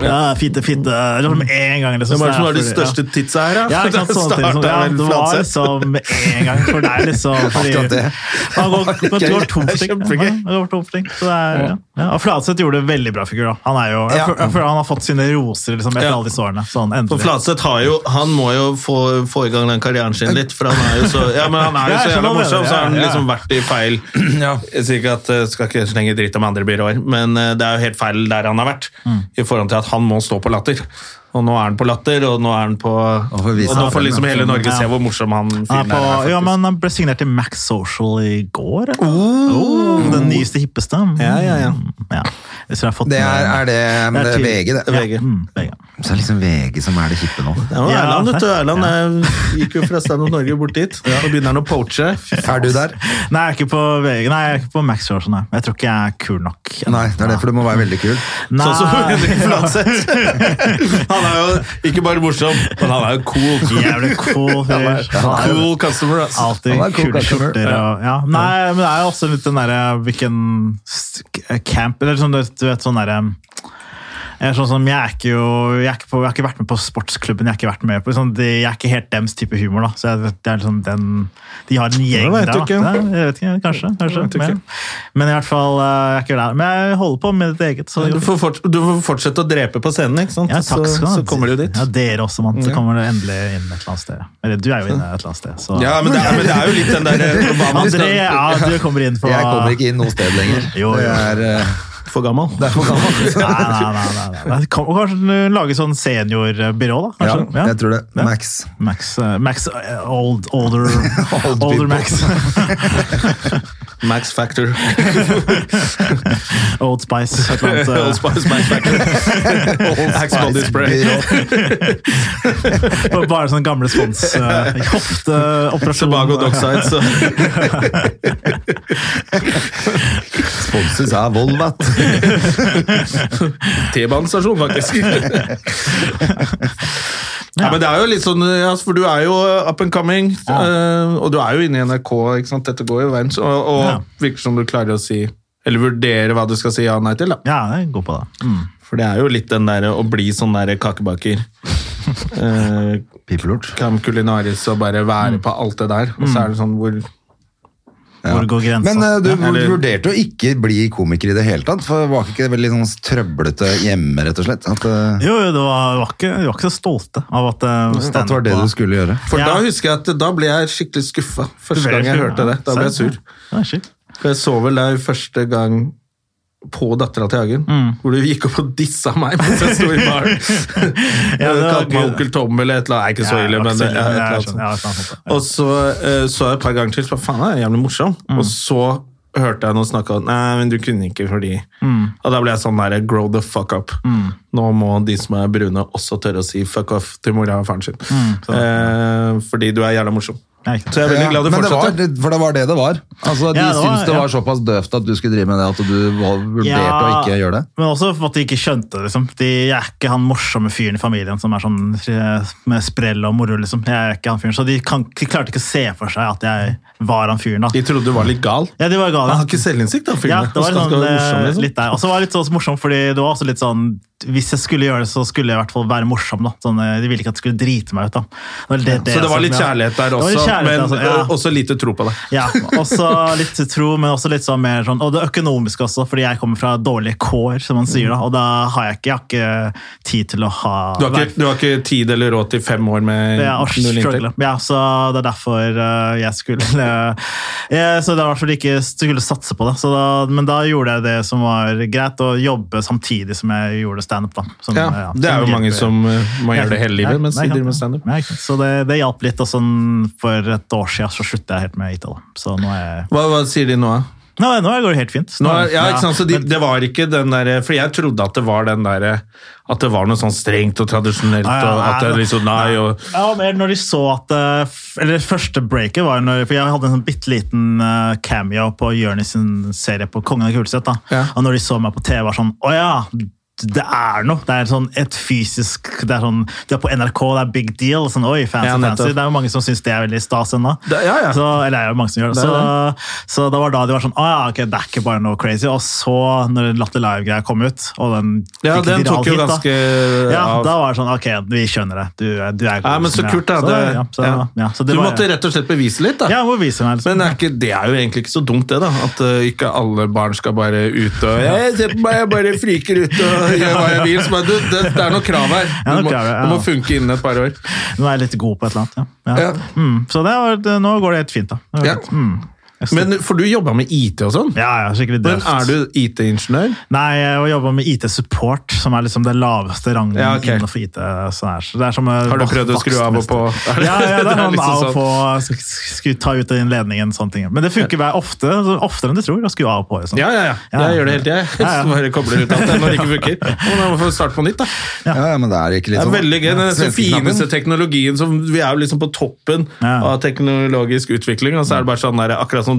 Speaker 4: ja, Fitte, fitte eller sånn Med en gang. Liksom,
Speaker 1: Hvem er det som har
Speaker 4: Så
Speaker 1: de
Speaker 4: det er fordi-
Speaker 1: største titsa her, da?
Speaker 4: ja, ikke sant, sånne ting.
Speaker 1: Starter
Speaker 4: Som, ja,
Speaker 1: vel
Speaker 4: det var
Speaker 1: Fladseth.
Speaker 4: liksom med en gang for deg, liksom. Fordi,
Speaker 2: Akkurat det.
Speaker 4: Man går, man
Speaker 2: Gøy.
Speaker 4: går tom for ting.
Speaker 2: Kjempegøy.
Speaker 4: Ja, man går tom for ting. Så det er, ja. Ja, og Fladseth gjorde det veldig bra figur. da. Han er jo, jeg,
Speaker 2: Ja.
Speaker 4: føl- jeg føler han har fått sine roser liksom, etter
Speaker 1: Ja.
Speaker 4: alle disse årene. Sånn,
Speaker 1: For
Speaker 4: endelig.
Speaker 1: Fladseth har jo Han må jo få, få i gang den karrieren sin litt, for han er jo så Ja, men han er jo
Speaker 4: Ja, jeg
Speaker 1: så
Speaker 4: skjønner
Speaker 1: jævla
Speaker 4: hva du
Speaker 1: morsom,
Speaker 4: mener,
Speaker 1: så har han
Speaker 4: ja, ja.
Speaker 1: liksom vært i feil Jeg sier ikke at eh, Skal ikke slenge dritt om andre byråer, men eh, det er jo helt feil der han har vært,
Speaker 4: Mm.
Speaker 1: i forhold til at han må stå på latter. Og nå er han på latter, og nå er han på Og,
Speaker 2: får
Speaker 1: nå
Speaker 2: vise
Speaker 1: får
Speaker 2: seg frem,
Speaker 1: liksom
Speaker 4: ja.
Speaker 1: hele Norge se
Speaker 4: Ja.
Speaker 1: hvor morsom han
Speaker 4: Han, er
Speaker 1: fyren her
Speaker 4: på,
Speaker 1: er.
Speaker 4: ja,
Speaker 1: faktisk.
Speaker 4: men han ble signert til Max Social i går. eller? Oh, den nyeste, hippeste. Mm,
Speaker 1: Ja, ja, ja.
Speaker 4: Ja. Jeg tror jeg har fått
Speaker 2: Det er, er det, men det er
Speaker 4: til-
Speaker 2: VG, det.
Speaker 4: Ja,
Speaker 1: VG.
Speaker 4: mm, VG.
Speaker 2: Så er det liksom VG som er det hippe nå.
Speaker 1: Det var
Speaker 4: Ja,
Speaker 1: Erland, vet du.
Speaker 4: takk.
Speaker 1: Erland eh, gikk jo fra Stand Up Norge bort dit. Nå begynner han å poache. Fy faen.
Speaker 2: Er du der?
Speaker 4: Nei, jeg er ikke på VG. Nei, jeg er ikke på Max Social. Nei. Jeg tror ikke jeg er kul nok.
Speaker 2: Nei, det er det, for du må være veldig kul.
Speaker 4: Nei.
Speaker 1: Sånn som Henrik Fladseth. Han er jo ikke bare morsom, men han er jo cool.
Speaker 4: Jævlig cool fyr.
Speaker 1: Cool customer, ass.
Speaker 4: Alltid
Speaker 2: Han er cool
Speaker 4: kule
Speaker 2: customer.
Speaker 4: skjorter og ja. Nei, men det er jo også litt den derre Hvilken st- camp Eller sånn, du vet sånn derre jeg er sånn som, jeg, er ikke jo, jeg, er ikke på, jeg har ikke vært med på sportsklubben. Jeg har ikke vært med på, sånn, de, jeg er ikke helt dems type humor. da. Så jeg, det er liksom den, De har en gjeng
Speaker 1: vet
Speaker 4: der.
Speaker 1: du
Speaker 4: da.
Speaker 1: ikke.
Speaker 4: Nei, Jeg vet ikke, Kanskje. kanskje
Speaker 1: vet du
Speaker 4: men,
Speaker 1: ikke.
Speaker 4: men i hvert fall, eh, jeg er ikke der. Men jeg holder på med ditt eget. Så,
Speaker 1: Du får, fort, du får fortsette å drepe på scenen, ikke sant?
Speaker 4: ja, takk skal du
Speaker 1: så,
Speaker 4: ha.
Speaker 1: så kommer du jo dit.
Speaker 4: Ja, Dere også, mann. Så kommer det endelig inn et eller annet sted. Eller du er jo inne et eller annet sted. Så.
Speaker 1: Ja, men det er, men det er jo litt den der hva man
Speaker 4: André,
Speaker 1: skal,
Speaker 4: ja, du kommer inn på
Speaker 2: Jeg kommer ikke inn noe sted lenger.
Speaker 4: Jo, jo.
Speaker 2: Det er, eh,
Speaker 1: For gammel.
Speaker 2: det er for gammelt.
Speaker 4: Nei, nei, nei. nei, nei. Kom, kanskje du lager sånn seniorbyrå, da?
Speaker 2: Ja,
Speaker 4: Kanskje?
Speaker 2: jeg tror det. Max.
Speaker 4: Max, eh, Max eh, old, older,
Speaker 2: Old people.
Speaker 4: older Max.
Speaker 1: Max Factor.
Speaker 4: Old Spice. et eller annet, eh,
Speaker 1: Old Spice Max Factor. Axe Body Spray.
Speaker 4: og Bare sånne gamle spons. eh, Hofteoperasjon.
Speaker 1: Tobago Dockside. Så.
Speaker 2: Sponsus er vold, vet du.
Speaker 1: T-banestasjon, faktisk. ja. men det er jo litt sånn, ja, for du er jo up and coming, eh, og du er jo inne i NRK, ikke sant? dette går jo veien, så- og, og
Speaker 4: Ja.
Speaker 1: virker som du klarer å si, eller vurdere hva du skal si ja og nei til, da.
Speaker 4: Ja, jeg er god på det. Mm.
Speaker 1: For det er jo litt den der å bli sånn der kakebaker. Eh,
Speaker 2: Pipelort.
Speaker 1: Cam Culinaris og bare
Speaker 4: Mm.
Speaker 1: være på alt det der, og så er det sånn hvor
Speaker 4: Hvor går grensa?
Speaker 2: Men eh, du
Speaker 4: Ja.
Speaker 1: eller-
Speaker 2: vurderte å ikke bli komiker i det hele tatt, for var ikke det veldig sånn trøblete hjemme, rett og slett? At, eh,
Speaker 4: Jo, jo, det var, var ikke, vi var ikke så stolte av at
Speaker 2: at
Speaker 4: eh,
Speaker 2: det var det
Speaker 4: stand-up
Speaker 2: du skulle gjøre?
Speaker 1: For
Speaker 4: Ja.
Speaker 1: da husker jeg at da ble jeg skikkelig skuffa første gang jeg hørte det. Da ble jeg sur.
Speaker 4: Ja, shit.
Speaker 1: For jeg så vel deg første gang på dattera til Hagen,
Speaker 4: Mm.
Speaker 1: hvor du gikk opp og dissa meg mens jeg sto i baren.
Speaker 4: Ja,
Speaker 1: Kalte
Speaker 4: det var
Speaker 1: meg
Speaker 4: gøy, det.
Speaker 1: onkel Tom eller et eller annet. Jeg er ikke så ille, men det, ja, et eller annet. sånt. Og så eh, så jeg et par ganger til, så bare, faen, han er jævlig morsom.
Speaker 4: Mm.
Speaker 1: Og så hørte jeg noen snakke om nei, men du kunne ikke fordi
Speaker 4: Mm.
Speaker 1: Og da ble jeg sånn der, grow the fuck up. Nå må de som er brune, også tørre å si fuck off til mora og faren sin.
Speaker 4: Mm.
Speaker 1: eh, fordi du er jævla morsom. Så jeg er veldig glad du
Speaker 2: men det var,
Speaker 1: fortsatte.
Speaker 2: det- for det var det det var. Altså, de
Speaker 4: Ja, det var-
Speaker 2: syntes det
Speaker 4: ja.
Speaker 2: var såpass døvt at du skulle drive med det, at du var vurderte å ikke gjøre det.
Speaker 4: Men også for at de ikke skjønte det. Liksom. De, jeg er ikke han morsomme fyren i familien som er sånn eh, med sprell og moro. Liksom. Jeg er ikke han fyren. Så de, kan, de klarte ikke å se for seg at jeg var han fyren. Da.
Speaker 1: De trodde du var litt gal.
Speaker 4: Ja, de var gale.
Speaker 1: Han har ikke selvinnsikt, han fyren.
Speaker 4: Ja, det var
Speaker 1: Han skal-
Speaker 4: sånn,
Speaker 1: skal være morsom,
Speaker 4: eh,
Speaker 1: liksom.
Speaker 4: litt der. Og så var det litt sånn morsomt, fordi det var også litt sånn Hvis jeg skulle gjøre det, så skulle jeg i hvert fall være morsom. da. Sånn, eh, de ville ikke at jeg skulle drite meg ut. da. Det var det-
Speaker 1: Så det var
Speaker 4: som-
Speaker 1: litt
Speaker 4: ja.
Speaker 1: kjærlighet der
Speaker 4: Det var
Speaker 1: også,
Speaker 4: litt kjærlighet,
Speaker 1: men
Speaker 4: altså, ja.
Speaker 1: også lite tro på det.
Speaker 4: Ja, også litt tro, men også litt sånn mer sånn Og det økonomiske også, fordi jeg kommer fra dårlige kår, som man sier da, og da har jeg ikke, jeg har ikke tid til å ha
Speaker 1: Du har, ikke, du har ikke tid eller råd til fem år med
Speaker 4: det er å
Speaker 1: null
Speaker 4: struggle.
Speaker 1: inntekt.
Speaker 4: Ja, så det er derfor eh, jeg skulle eh, eh, Så det var i hvert fall ikke skulle satse på det. Så da, men da gjorde jeg det som var greit, å jobbe samtidig som jeg gjorde standup. da. Som,
Speaker 1: Ja,
Speaker 4: eh, ja,
Speaker 1: det er jo
Speaker 4: hjelper.
Speaker 1: mange som eh, man gjør det hele
Speaker 4: Ja,
Speaker 1: livet mens
Speaker 4: nei,
Speaker 1: de
Speaker 4: ja.
Speaker 1: driver med standup.
Speaker 4: Ja, ikke sant. så det, det hjalp litt, og sånn for et år siden så slutta jeg helt med Ita. da. Så nå er jeg
Speaker 1: Hva, hva sier de nå, da?
Speaker 4: Nå, nå går det helt fint.
Speaker 1: Nå, er- ja, ikke sant? Så de, det var ikke den der, For jeg trodde at det var den der, at det var noe sånn strengt og tradisjonelt.
Speaker 4: Ja, ja,
Speaker 1: og at det
Speaker 4: nei,
Speaker 1: er liksom, nei, og,
Speaker 4: Ja, mer når de så at eh, f- Eller første breaket var når For jeg hadde en sånn bitte liten eh, cameo på Jonis sin serie på Kongen av Kulset. da.
Speaker 1: Ja.
Speaker 4: Og når de så meg på TV, var sånn Å ja! Det er noe. Det er sånn et fysisk det er sånn, Du er på NRK, det er big deal. Sånn, oi, fancy,
Speaker 1: Ja, nettopp.
Speaker 4: fancy. Det er jo mange som syns det er veldig stas ennå.
Speaker 1: Det- ja, ja.
Speaker 4: Så, eller det er jo mange som gjør det.
Speaker 1: Det er
Speaker 4: så, så det var da de var sånn Å ja, ok, det er ikke bare noe crazy. Og så, når Latter Live-greia kom ut, og den
Speaker 1: Ja,
Speaker 4: fikk
Speaker 1: den
Speaker 4: viral
Speaker 1: tok jo
Speaker 4: hit, da.
Speaker 1: ganske
Speaker 4: ja,
Speaker 1: av.
Speaker 4: da da var det sånn, ok, vi skjønner det. Du, er- du er god.
Speaker 1: Nei, men så
Speaker 4: liksom, ja.
Speaker 1: kult, da. Det,
Speaker 4: ja, så,
Speaker 1: ja.
Speaker 4: ja. så det
Speaker 1: du
Speaker 4: var-
Speaker 1: måtte rett og slett bevise litt, da.
Speaker 4: Ja, jeg må vise meg. Liksom.
Speaker 1: Men eh, er ikke, det er jo egentlig ikke så dumt, det. da At eh, ikke alle barn skal bare ut og jeg, se på meg, jeg bare friker ut og gjør hva jeg vil. Så bare, du, det, det er noe krav her.
Speaker 4: Ja, noe
Speaker 1: Du må,
Speaker 4: krav, ja.
Speaker 1: du må funke innen et par år.
Speaker 4: Nå er jeg litt god på et eller annet, ja. ja.
Speaker 1: Ja.
Speaker 4: Mm, så det var, det, nå går det helt fint, da. Det var
Speaker 1: Ja.
Speaker 4: fint. Mm. Jeg støtter-
Speaker 1: Men For du jobba med IT og sånn?
Speaker 4: ja, ja, skikkelig
Speaker 1: Men
Speaker 4: døft.
Speaker 1: er du IT-ingeniør?
Speaker 4: Nei, jeg har jobbet med IT-support, som er liksom det laveste rangen
Speaker 1: Ja, ok.
Speaker 4: innenfor IT. Sånn her. Så det er som,
Speaker 1: Har du prøvd å skru av og på?
Speaker 4: Ja, ja, det
Speaker 1: Det
Speaker 4: er
Speaker 1: er
Speaker 4: sånn
Speaker 1: liksom
Speaker 4: av og
Speaker 1: sånn.
Speaker 4: på, sk- skru, ta ut den ledningen, sånne ting. Men det funker bare ofte, så oftere enn du tror, å skru av og på. Liksom.
Speaker 1: Ja, ja, ja.
Speaker 4: Ja.
Speaker 1: Jeg gjør det hele tida.
Speaker 4: Ja, ja.
Speaker 1: Så Bare kobler ut alt det når det ikke funker. Og da må vi starte på nytt, da.
Speaker 2: Ja. ja, men det er ikke litt
Speaker 1: Det er
Speaker 2: sånn-
Speaker 1: veldig gøy. Den
Speaker 2: Svenske
Speaker 1: den fineste
Speaker 2: knappen.
Speaker 1: teknologien som Vi er jo liksom på toppen
Speaker 4: Ja.
Speaker 1: av teknologisk utvikling, og så er det bare sånn der, akkurat sånn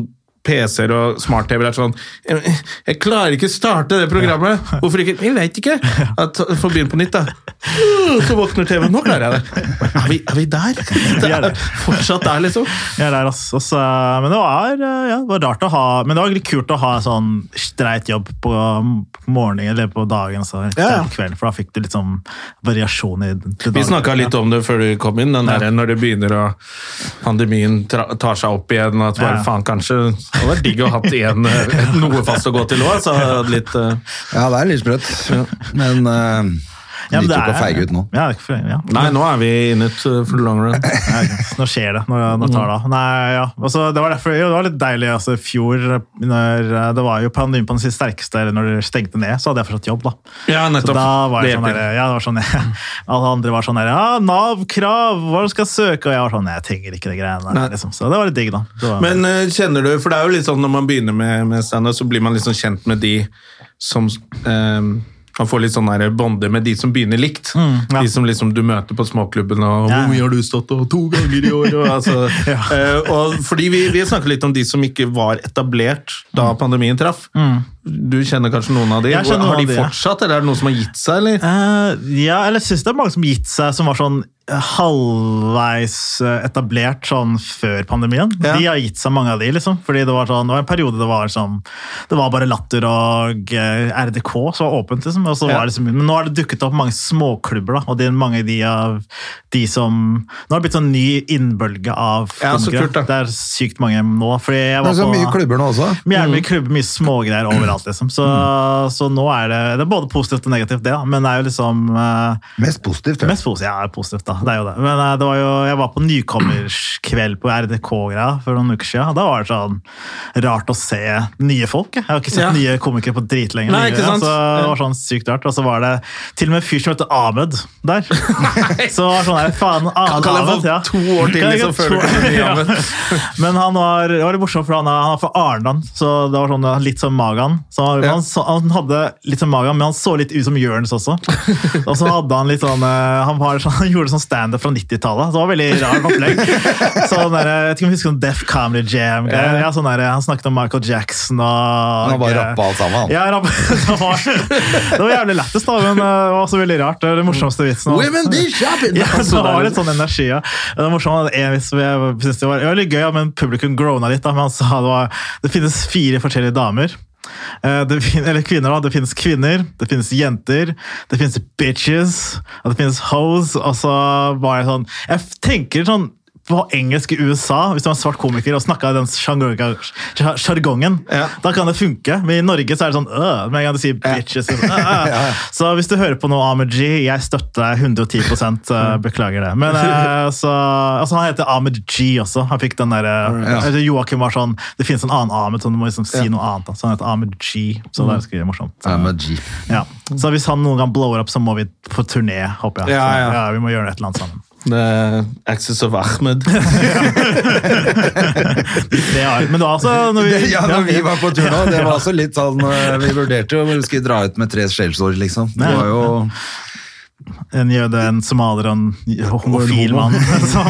Speaker 1: PC-er og smart-TV-er er sånn jeg, 'Jeg klarer ikke starte det programmet!' Hvorfor ikke? Jeg vet ikke! At, Få begynne på nytt, da. Uh, Så våkner TV-en. Nå klarer jeg det! Er vi, er vi der? Det
Speaker 4: er der.
Speaker 1: er fortsatt der, liksom.
Speaker 4: Ja, det er ass. Og så- men det var, eh, ja, det var rart å ha Men det var litt kult å ha sånn streit jobb på morgenen eller på dagen, så
Speaker 1: Ja, ja.
Speaker 4: på kvelden, for da fikk du litt sånn variasjon i til
Speaker 1: Vi
Speaker 4: dagen.
Speaker 1: snakka litt om det før du kom inn, den der, når det begynner å pandemien tra- tar seg opp igjen. At bare,
Speaker 4: Ja.
Speaker 1: faen, kanskje Det hadde vært digg å ha hatt igjen eh, noe fast å gå til òg. eh,
Speaker 2: Ja, det er litt sprøtt. Men uh,
Speaker 4: Ja, men
Speaker 2: liker
Speaker 4: det
Speaker 2: ikke å
Speaker 4: er-
Speaker 2: feige ut nå.
Speaker 4: Ja, det er ikke feige, ja.
Speaker 1: Nei, nå er vi inne ut eh, for long run.
Speaker 4: Ja, ikke sant. Nå skjer det. Nå, nå tar det av. Nei, ja. Og så det var derfor jo, det var litt deilig altså, i fjor. Når, eh, det var jo pandemien på den siste sterkeste, eller når det stengte ned, så hadde jeg fortsatt jobb, da.
Speaker 1: Ja,
Speaker 4: Så
Speaker 1: nettopp.
Speaker 4: da var jeg
Speaker 1: Det
Speaker 4: sånn
Speaker 1: hjelper.
Speaker 4: der, ja, det var sånn, alle andre var sånn der, ja, Nav-krav, hva du skal søke, og jeg var sånn, jeg trenger ikke det greiene
Speaker 1: Nei.
Speaker 4: der, liksom. Så det var litt digg da. Det var-
Speaker 1: Men eh, kjenner du For det er jo litt sånn når man begynner med, med standup, så blir man liksom kjent med de som eh, man får litt sånn der bonder med de som begynner likt.
Speaker 4: Mm, ja.
Speaker 1: De som liksom du møter på småklubben og
Speaker 4: Ja.
Speaker 1: 'Hvor mye har du stått og to ganger i år?' Og, altså,
Speaker 4: Ja.
Speaker 1: eh, og fordi vi, vi snakker litt om de som ikke var etablert da pandemien traff. Du kjenner kanskje noen av de?
Speaker 4: Mm. Jeg kjenner
Speaker 1: Har
Speaker 4: noen
Speaker 1: de
Speaker 4: av de, ja.
Speaker 1: fortsatt, eller er det noen som har gitt seg? Eller?
Speaker 4: Eh, ja, eller jeg synes det er mange som gitt seg som var sånn eh, halvveis eh, etablert sånn før pandemien.
Speaker 1: Ja.
Speaker 4: De har gitt seg mange av de, liksom. Fordi det var sånn, det var en periode det var sånn, det var bare latter og eh, RDK som var åpent, liksom. Og så
Speaker 1: Ja.
Speaker 4: var det liksom, men nå har det dukket opp mange småklubber, da. Og det er mange av de av de som, nå har det blitt sånn ny innbølge av
Speaker 1: Ja, så kult, da.
Speaker 4: Det er sykt mange nå, fordi jeg
Speaker 2: Det
Speaker 4: var
Speaker 2: er så
Speaker 4: på...
Speaker 2: mye klubber nå også.
Speaker 4: Men Gjerne mye
Speaker 1: Mm.
Speaker 4: klubber, mye smågreier overalt, liksom. Så, så nå er det, det er både positivt og negativt, det, da. Men det er jo liksom eh,
Speaker 2: Mest positivt. tror jeg.
Speaker 4: mest positivt, ja, det er positivt, da. da, det er jo det. Men eh, det var jo, jeg var på nykommerskveld på RDK-greia for noen uker siden. og Da var det sånn rart å se nye folk. Jeg Jeg har ikke sett
Speaker 1: Ja.
Speaker 4: nye komikere på dritlenge.
Speaker 1: Nei, ikke sant?
Speaker 4: Så det var sånn sykt rart. Og så var det til og med en fyr som het Ahmed der. så var det sånn der, faen,
Speaker 1: Kan-
Speaker 4: Ahmed,
Speaker 1: kan jeg få
Speaker 4: Ahmed, ja.
Speaker 1: to år til,
Speaker 4: Kan jeg
Speaker 1: liksom,
Speaker 4: få
Speaker 1: før
Speaker 4: to-
Speaker 1: du kommer til Ahmed?
Speaker 4: Men han var, det var litt morsomt, for han er, han er fra Arendal, så det var sånn, litt som Magan. Så han,
Speaker 1: Ja.
Speaker 4: han, så, han hadde litt som Magan, men han så litt ut som Jørns også. Og så hadde han litt sånn eh, Han, var, sånn- han gjorde sånn standup fra 90-tallet. så Det var veldig rart opplegg. Sånn der, eh, jeg vet ikke om du husker sånn Def Comedy Jam. Ja. Ja, sånn der, eh, han snakket om Michael Jackson og
Speaker 2: Han bare rappa alt sammen, han.
Speaker 4: Ja, rapp, det, var, det var jævlig lættis, da, men eh, det var også veldig rart. Det var den morsomste vitsen.
Speaker 3: Women be shopping!
Speaker 4: Ja,
Speaker 2: Altså,
Speaker 4: det var litt sånn energi, ja. Men Det var morsomt, en vits som jeg synes det var, det var litt gøy, ja, men publikum grona litt. Da, men han sa det, var, det finnes fire forskjellige damer. Eh, Det fin- eller kvinner, da. Det finnes kvinner, det finnes jenter, det finnes bitches, og det finnes hoes. Og så var jeg sånn Jeg f- tenker sånn på engelsk i USA, hvis du var en svart komiker og snakka den sjargongen, sjar- sjargongen,
Speaker 1: Ja.
Speaker 4: da kan det funke. Men i Norge så er det sånn øh, med en gang du sier bitches. Så, øh, øh. så hvis du hører på noe Ahmed G, jeg støtter deg 110 øh, beklager det. Men øh, så, altså, Han heter Ahmed G også. Han fikk den der, øh,
Speaker 2: Ja.
Speaker 4: eller Joakim var sånn Det finnes en annen Ahmed, så du må liksom si noe annet. da. Så han heter Ahmed G. Så det er ganske morsomt.
Speaker 2: I'm a G.
Speaker 4: Ja. Så hvis han noen gang blower opp, så må vi på turné, håper jeg.
Speaker 1: Ja, ja.
Speaker 4: Så, ja, vi må gjøre et eller annet sammen.
Speaker 1: Access of Ahmed.
Speaker 4: Det er, men det var altså når vi,
Speaker 2: Ja, når vi var på tur nå, det var også litt sånn eh, Vi vurderte jo om vi skulle dra ut med tre skjellsår, liksom. Det var jo
Speaker 4: En jøde, en somalier og en homofil mann. som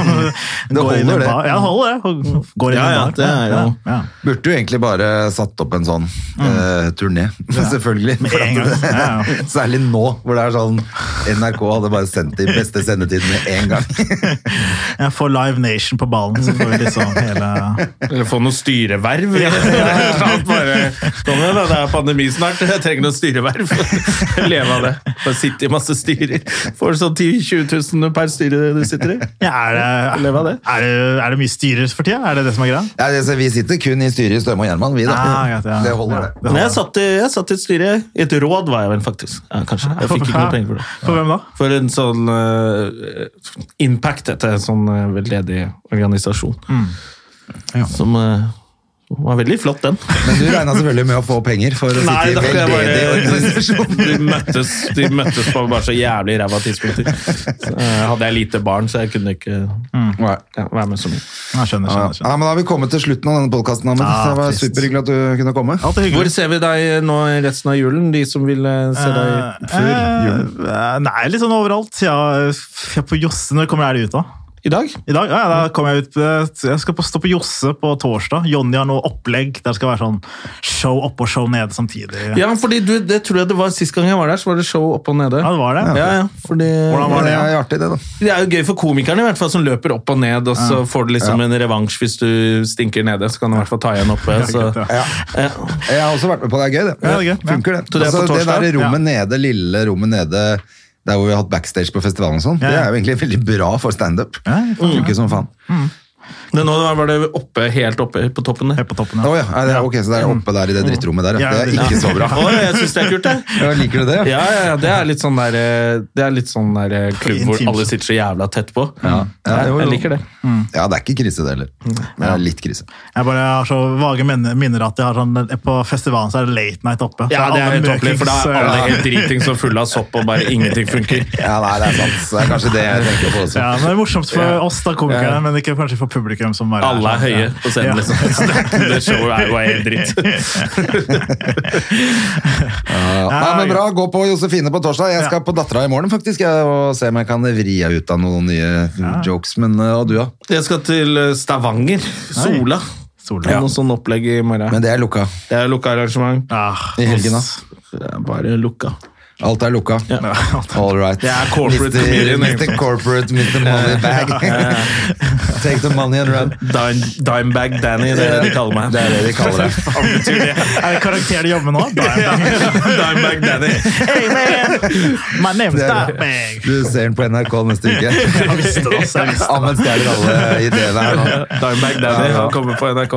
Speaker 4: går inn i en
Speaker 2: holder, det.
Speaker 4: bar. Ja, det holder, det. Og Går inn
Speaker 1: Ja,
Speaker 4: i en
Speaker 1: ja,
Speaker 4: bar.
Speaker 1: det er jo-
Speaker 4: Ja, ja.
Speaker 2: Burde jo egentlig bare satt opp en sånn eh, turné, selvfølgelig.
Speaker 4: Mm. Med
Speaker 2: For
Speaker 4: en
Speaker 2: at
Speaker 4: gang.
Speaker 2: det-
Speaker 4: Ja, ja.
Speaker 2: Særlig nå, hvor det er sånn NRK hadde bare sendt det i beste sendetid med en gang.
Speaker 4: Jeg får Live Nation på ballen, så får vi liksom hele
Speaker 1: Eller få noe styreverv. Bare, kom igjen, da, det er pandemi snart, jeg trenger noe styreverv. Leve av det. Bare sitte i masse styrer. Får sånn 10 000-20 000 per styre du sitter i.
Speaker 4: ja, er, det,
Speaker 1: Leve av det.
Speaker 4: er, det, er det mye styrer for tida? Er det det som er greia?
Speaker 2: Ja, det, så vi sitter kun i styret i Støme og Gjerman, vi da.
Speaker 4: Ah, greit, ja.
Speaker 2: Det holder, det.
Speaker 1: Men jeg satt, i, jeg satt i et styre. I et råd var jeg vel, faktisk. Ja, kanskje. Jeg fikk ikke noe penger for det.
Speaker 4: For hvem da?
Speaker 1: For en sånn eh, impact etter en sånn eh, veldedig organisasjon. Som eh, var veldig flott, den.
Speaker 2: Men du regna selvfølgelig med å få penger for å sitte i
Speaker 1: da, jeg
Speaker 2: veldedig organisasjon.
Speaker 1: de, møttes, de møttes på bare så jævlig ræva tidspunkter. Så, eh, hadde jeg lite barn, så jeg kunne ikke
Speaker 4: Mm.
Speaker 2: Nei.
Speaker 1: ja, være med så mye.
Speaker 4: Jeg skjønner,
Speaker 2: Ja,
Speaker 4: skjønner. skjønner.
Speaker 2: men Da har vi kommet til slutten av denne podkasten.
Speaker 4: Ah,
Speaker 2: det var
Speaker 4: trist.
Speaker 2: superhyggelig at du kunne komme.
Speaker 4: Alt er
Speaker 1: Hvor
Speaker 4: hyggelig.
Speaker 1: ser vi deg nå i resten av julen, de som vil eh, se deg
Speaker 4: Eh, eh, Nei, litt sånn overalt. Ja, f- ja, på Josse, når kommer jeg ut da?
Speaker 1: i dag?
Speaker 4: I dag? Ja, ja, da kommer jeg ut eh, Jeg skal på- stå på Josse på torsdag. Jonny har noe opplegg der det skal være sånn show oppe og show nede samtidig.
Speaker 1: Ja, fordi du, det tror jeg det var sist gang jeg var der, så var det show opp og nede.
Speaker 4: Ja, det var det.
Speaker 1: Ja, ja, fordi...
Speaker 4: Hvordan var det?
Speaker 2: Det
Speaker 4: ja?
Speaker 2: er artig, det, da.
Speaker 1: Det er jo gøy for komikerne, i hvert fall, som løper opp og ned, og så får du liksom en revansj hvis du stinker nede. Så kan du i hvert fall ta igjen oppe. Så.
Speaker 4: greit,
Speaker 2: Ja.
Speaker 1: Ja.
Speaker 2: Jeg har også vært med på det. Det er gøy, det.
Speaker 4: Ja, det er gøy. Ja.
Speaker 2: Funker, det.
Speaker 1: Så det er på
Speaker 2: Altså, det
Speaker 1: torsdag?
Speaker 2: der rommet nede, lille rommet nede der hvor vi har hatt backstage på festivalen og sånn,
Speaker 4: Ja,
Speaker 2: det
Speaker 4: ja.
Speaker 2: er jo egentlig veldig bra for standup.
Speaker 4: Ja, ja, faen,
Speaker 2: Funker som faen.
Speaker 1: Men nå var det oppe, helt oppe på toppen. der.
Speaker 4: Helt på toppen,
Speaker 2: Å
Speaker 4: ja.
Speaker 2: ja, ja, det er, ok, så det er oppe der i det drittrommet der. Ja.
Speaker 4: Ja,
Speaker 2: Det er ikke så bra.
Speaker 1: Å, jeg syns det er kult, jeg.
Speaker 2: Ja, liker du det?
Speaker 1: Ja, ja, ja, det er litt sånn der, eh, det er litt sånn der eh, klubb hvor
Speaker 4: Intimt.
Speaker 1: alle sitter så jævla tett på.
Speaker 2: Ja, jo, jo.
Speaker 1: Jeg liker det.
Speaker 2: Ja, det er ikke krise, det heller. Det er litt krise.
Speaker 4: Jeg bare har så vage minne- minner at jeg har sånn, på festivalen så er det late night oppe.
Speaker 1: Ja,
Speaker 4: Så
Speaker 1: det er
Speaker 4: alle
Speaker 1: helt topplig, for da
Speaker 4: møkings,
Speaker 1: er alle helt dritings og fulle av sopp og bare ingenting funker.
Speaker 2: Ja, nei, det er sant. Så det er kanskje det jeg tenker på
Speaker 4: ja.
Speaker 2: også.
Speaker 4: Ja, men det er morsomt for oss da, komikere,
Speaker 1: liksom- Ja.
Speaker 4: men ikke kanskje for publikum. som bare sånn,
Speaker 1: Alle er høye på
Speaker 4: Ja.
Speaker 1: scenen, liksom. Så det- Det showet er jo helt dritt.
Speaker 2: Ja, Nei, men bra, gå på Josefine på torsdag. Jeg skal
Speaker 4: Ja.
Speaker 2: på Dattera i morgen faktisk, jeg, og se om jeg kan vri deg ut av noen nye jokes. Men, eh, og du, ja.
Speaker 1: Jeg skal til eh, Stavanger. Sola.
Speaker 4: Sola.
Speaker 1: Noe sånn opplegg i morgen.
Speaker 2: Men det er lukka.
Speaker 1: Det er lukka arrangement.
Speaker 4: Ah,
Speaker 2: I helgen, da.
Speaker 1: Det er bare lukka.
Speaker 2: Alt er lukka. All right.
Speaker 1: Det er corporate
Speaker 2: Mr.
Speaker 1: comedian, egentlig.
Speaker 2: Mr. Corporate, Mr. Moneybag. Take the money and run.
Speaker 1: Dime, Dimebag Danny, det er det de kaller meg.
Speaker 2: Det er det de kaller det.
Speaker 4: Er det karakter du jobber med nå? Da er det-
Speaker 1: Dimebag Danny.
Speaker 4: Hey, man! My name's
Speaker 2: Det er det.
Speaker 4: Dimebag.
Speaker 2: Du ser den på NRK neste uke.
Speaker 4: Jeg visste det også. Jeg visste.
Speaker 2: Amund stjeler alle ideene her nå.
Speaker 1: Dimebag Danny, han kommer på NRK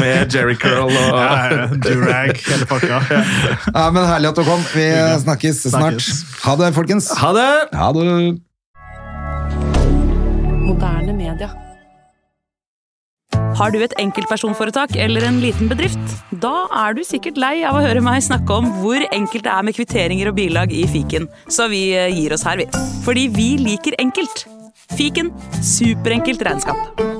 Speaker 1: med Jerry Curl og
Speaker 4: Ja, ja, Durag, hele pakka.
Speaker 2: Ja, men herlig at du kom. Vi snakkes snart.
Speaker 4: Snakkes.
Speaker 2: 아, Ha det, folkens.
Speaker 1: Ha det!
Speaker 2: Ha det.
Speaker 5: media. Har du et enkeltpersonforetak eller en liten bedrift? Da er du sikkert lei av å høre meg snakke om hvor enkelt det er med kvitteringer og bilag i fiken, så vi eh, gir oss her, vi. Fordi vi liker enkelt. Fiken superenkelt regnskap.